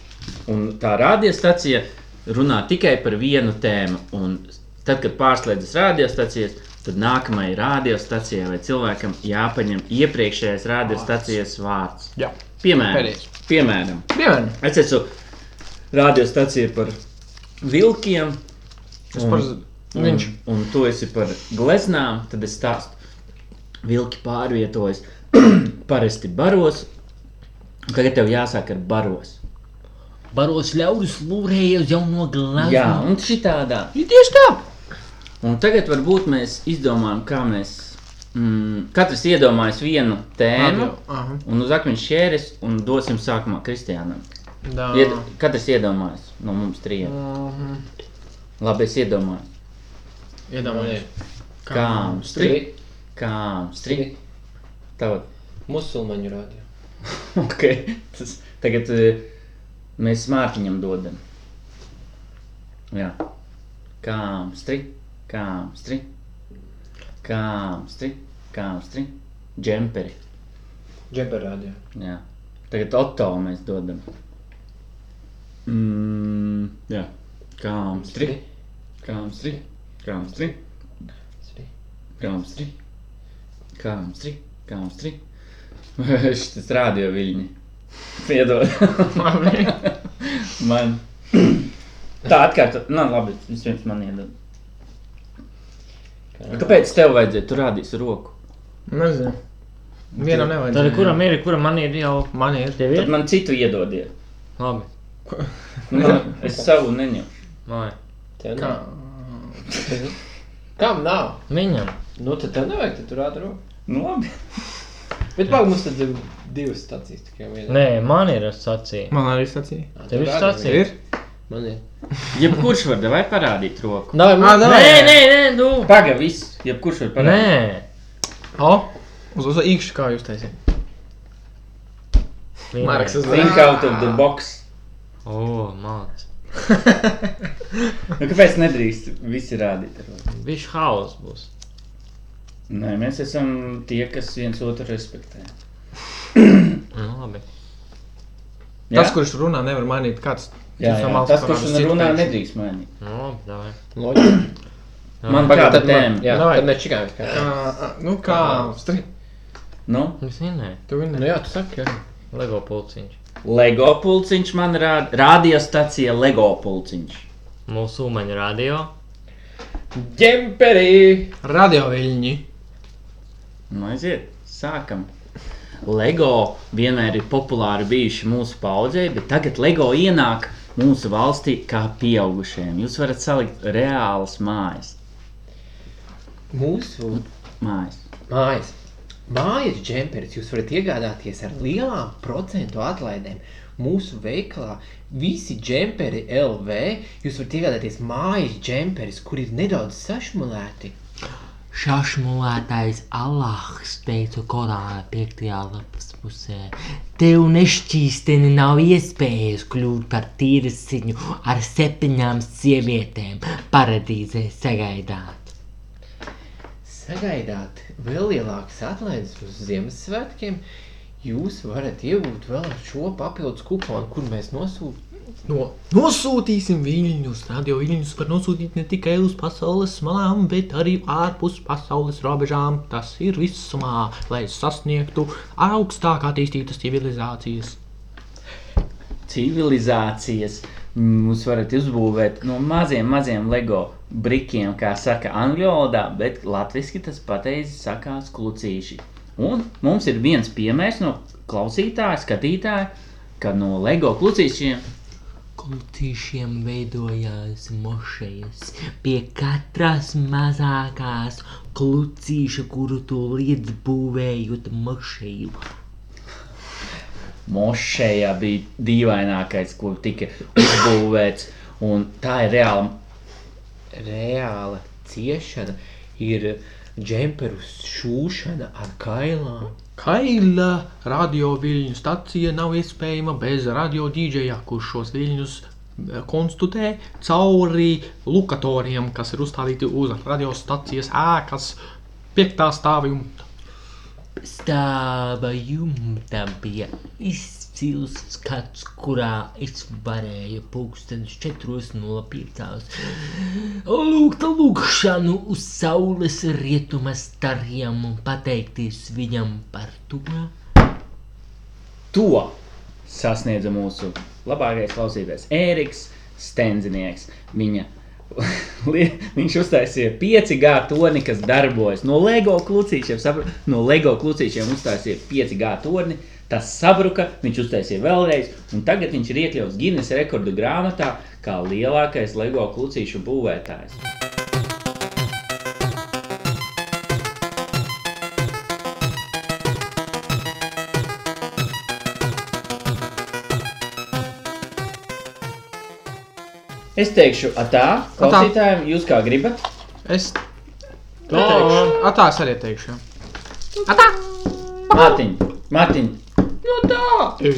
[SPEAKER 11] Un tā radiostacija runā tikai par vienu tēmu. Un tad, kad pārslēdzas radiostacijas, tad nākamajai radiostacijai vai cilvēkam jāpaņem iepriekšējais radiostacijas vārds.
[SPEAKER 2] Jā.
[SPEAKER 11] Piemēram,
[SPEAKER 2] Pēdējais.
[SPEAKER 11] piemēram,
[SPEAKER 2] Piemēram,
[SPEAKER 11] es esmu radiostacija par vilkiem.
[SPEAKER 2] es par Mm.
[SPEAKER 11] un,
[SPEAKER 2] viņš.
[SPEAKER 11] un tu esi par gleznām, tad es stāstu. Vilki pārvietojas parasti baros. un Tagad tev jāsāk ar baros.
[SPEAKER 1] Baros ļaudis lūrēja uz jauno Nu, glāzi.
[SPEAKER 11] Jā, un šitādā.
[SPEAKER 2] Ir tieši tā.
[SPEAKER 11] Un tagad varbūt mēs izdomājam, kā mēs. Mm, katrs iedomājas vienu tēmu,
[SPEAKER 2] Radio. Aha.
[SPEAKER 11] un uz akmeņa šķēres, un dosim sākumā Kristiānam.
[SPEAKER 2] Dā.
[SPEAKER 11] Ied, katrs iedomājas no mums trijiem.
[SPEAKER 2] Mhm.
[SPEAKER 11] Labi, es iedomājos.
[SPEAKER 2] Iedomājieties.
[SPEAKER 11] Kā mums trīs? Kā mums trīs? Tavs.
[SPEAKER 3] Musulmaņu radio.
[SPEAKER 11] Ok, tas tagad e, mēs mārciņam dodam. Jā, kā stri, kā stri, kā stri, kā stri, džemperi.
[SPEAKER 3] Džeber radio.
[SPEAKER 11] Jā. Tagad auto mēs dodam. Mm, jā, kā stri, kā stri, kā stri, kā stri, kā stri, kā stri. Šis rādio viļņi. Piedod. Man. Tā atkārto. Nē, labi, viņš viens man iedod. Kāpēc tev vajadzēja? Tu rādīsi roku.
[SPEAKER 2] Nezinu. Vienam nevajag.
[SPEAKER 8] Tad kuram ir, kuram man ir jau?
[SPEAKER 2] Man ir.
[SPEAKER 8] Tev
[SPEAKER 11] Tad
[SPEAKER 8] ir?
[SPEAKER 11] man citu iedodiet.
[SPEAKER 8] Labi.
[SPEAKER 11] Nu, es savu neņemšu.
[SPEAKER 8] Vai.
[SPEAKER 3] Tev
[SPEAKER 2] Kā?
[SPEAKER 3] nav. Kam nav?
[SPEAKER 8] Viņam.
[SPEAKER 3] Nu, tad tev nevajag, tad tur ātri.
[SPEAKER 11] Nu, labi.
[SPEAKER 3] Bet pagaidi, mums tad ir divas stācijas tikai viena.
[SPEAKER 8] Nē, man ir sacīja.
[SPEAKER 2] Man arī stācija.
[SPEAKER 8] Tev ir sacīja.
[SPEAKER 3] Man ir.
[SPEAKER 11] Jebkurš var vai parādīt roku.
[SPEAKER 2] Ah,
[SPEAKER 3] Nav, man
[SPEAKER 8] Nē, nē, nē, nu. tu.
[SPEAKER 11] Paga, Nu, viss. Jebkurš var
[SPEAKER 8] Ah, Nē.
[SPEAKER 11] parādīt.
[SPEAKER 2] O, uz uz īkšķi kā jūs teicāt.
[SPEAKER 8] Vienmēr.
[SPEAKER 2] Marks uz
[SPEAKER 11] Think Ah. out of the box.
[SPEAKER 8] O, māc.
[SPEAKER 11] Nu, kāpēc nedrīkst visi rādīt ar roku?
[SPEAKER 8] Viņš haus būs.
[SPEAKER 11] Nē, mēs esam tie, kas viens otru respektē.
[SPEAKER 8] Nu, labi.
[SPEAKER 11] Jā?
[SPEAKER 2] Tas, kurš runā, nevar mainīt kāds.
[SPEAKER 11] Jā,
[SPEAKER 2] cits no
[SPEAKER 11] jā.
[SPEAKER 2] malas
[SPEAKER 11] Tas,
[SPEAKER 2] parādās
[SPEAKER 11] kurš
[SPEAKER 2] citu
[SPEAKER 11] runā,
[SPEAKER 2] pēkšņi.
[SPEAKER 11] nedrīkst mainīt.
[SPEAKER 8] Nu, labi, davai.
[SPEAKER 3] Loģiski.
[SPEAKER 11] Man
[SPEAKER 3] Pagaidi,
[SPEAKER 11] kāda
[SPEAKER 3] tad man.
[SPEAKER 11] tēma.
[SPEAKER 3] Jā,
[SPEAKER 2] Davai.
[SPEAKER 3] tad mēs čikāmies. kā.
[SPEAKER 2] Kā, nu kā, stri.
[SPEAKER 11] Nu,
[SPEAKER 8] Es nezinu.
[SPEAKER 2] Tu viņu
[SPEAKER 3] Nu jā, tu saki, jā.
[SPEAKER 8] Lego pulciņš.
[SPEAKER 11] Lego pulciņš man rāda. Radiostacija Lego pulciņš.
[SPEAKER 8] Musulmaņu radio.
[SPEAKER 3] Džemperi!
[SPEAKER 2] Radio viļņi.
[SPEAKER 11] Nu, aiziet, sākam. LEGO vienmēr ir populāri bijuši mūsu paudzei, bet tagad LEGO ienāk mūsu valstī kā pieaugušajiem. Jūs varat salikt reālas mājas.
[SPEAKER 3] Mūsu
[SPEAKER 11] mājas.
[SPEAKER 3] mājas. Mājas džemperis jūs varat iegādāties ar lielām procentu atlaidēm. Mūsu veikalā visi džemperi LV jūs varat iegādāties mājas džemperis, kur ir nedaudz sašmulēti.
[SPEAKER 4] Šašmulētais Allāhs teica Korāna 5. lapas pusē. Tev nešķīsteni nav iespējas kļūt par tīrisiņu ar septiņām sievietēm paradīzē sagaidāt.
[SPEAKER 3] Sagaidāt vēl lielākas atlaides uz Ziemassvētkiem, jūs varat iegūt vēl šo papildus kuponu, kur mēs nosūtām
[SPEAKER 2] No, nosūtīsim viļņus. Radio viļņus var nosūtīt ne tikai uz pasaules malām, bet arī ārpus pasaules robežām. Tas ir visumā, lai sasniegtu augstāk attīstītas civilizācijas.
[SPEAKER 11] civilizācijas. Jūs varat izbūvēt no maziem, maziem LEGO brikiem, kā saka angļu valodā, bet latviešu tas pateicis sakās klucīši. Un mums ir viens piemērs no klausītāja, skatītāja, ka no LEGO klucīšiem
[SPEAKER 4] Kultīšiem veidojās mošejas pie katras mazākās klucīša, kuru tu līdz būvējot mošeju.
[SPEAKER 11] mošejā bija dīvainākais, kur tika uzbūvēts. Un tā ir reāla
[SPEAKER 3] reāla ciešana ir džemperu šūšana ar kailām.
[SPEAKER 2] Kaila radio viļņu stacija nav iespējama bez radio dīdžeja, kurš šos viļņus eh, konstatē cauri lukatoriem, kas ir uzstādīti uz radiostacijas ēkas piektā stāvja un
[SPEAKER 4] stāva jumtam bija izcils skats, kurā es varēju pūkstens 4.05. lūgt lūgšanu uz saules rietuma stariem un pateikties viņam par to.
[SPEAKER 11] to sasniedza mūsu labākais klausītājs, Ēriks Stenzinieks. Viņa, li- viņš uztaisīja 5G torni, kas darbojas. No LEGO klucīšiem, sabru, no LEGO klucīšiem uztaisīja 5G torni. Tas sabruka, viņš uztaisīja vēlreiz, un tagad viņš ir iekļauts Guinness rekordu grāmatā kā lielākais LEGO klucīšu būvētājs. Es teikšu,
[SPEAKER 3] Ah,
[SPEAKER 11] atā, klausītājiem, jūs kā gribat.
[SPEAKER 2] Es teikšu, atās arī teikšu.
[SPEAKER 11] Mārtiņ, Mārtiņ. No tā.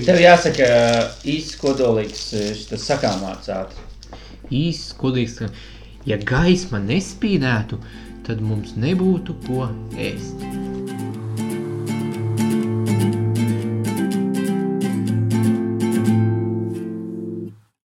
[SPEAKER 11] Tev jāsaka īsts kodolīgs eh, šis sakāmārts ātri.
[SPEAKER 3] Īsts kodīgs, ka ja gaisma nespīdētu, tad mums nebūtu ko ēst.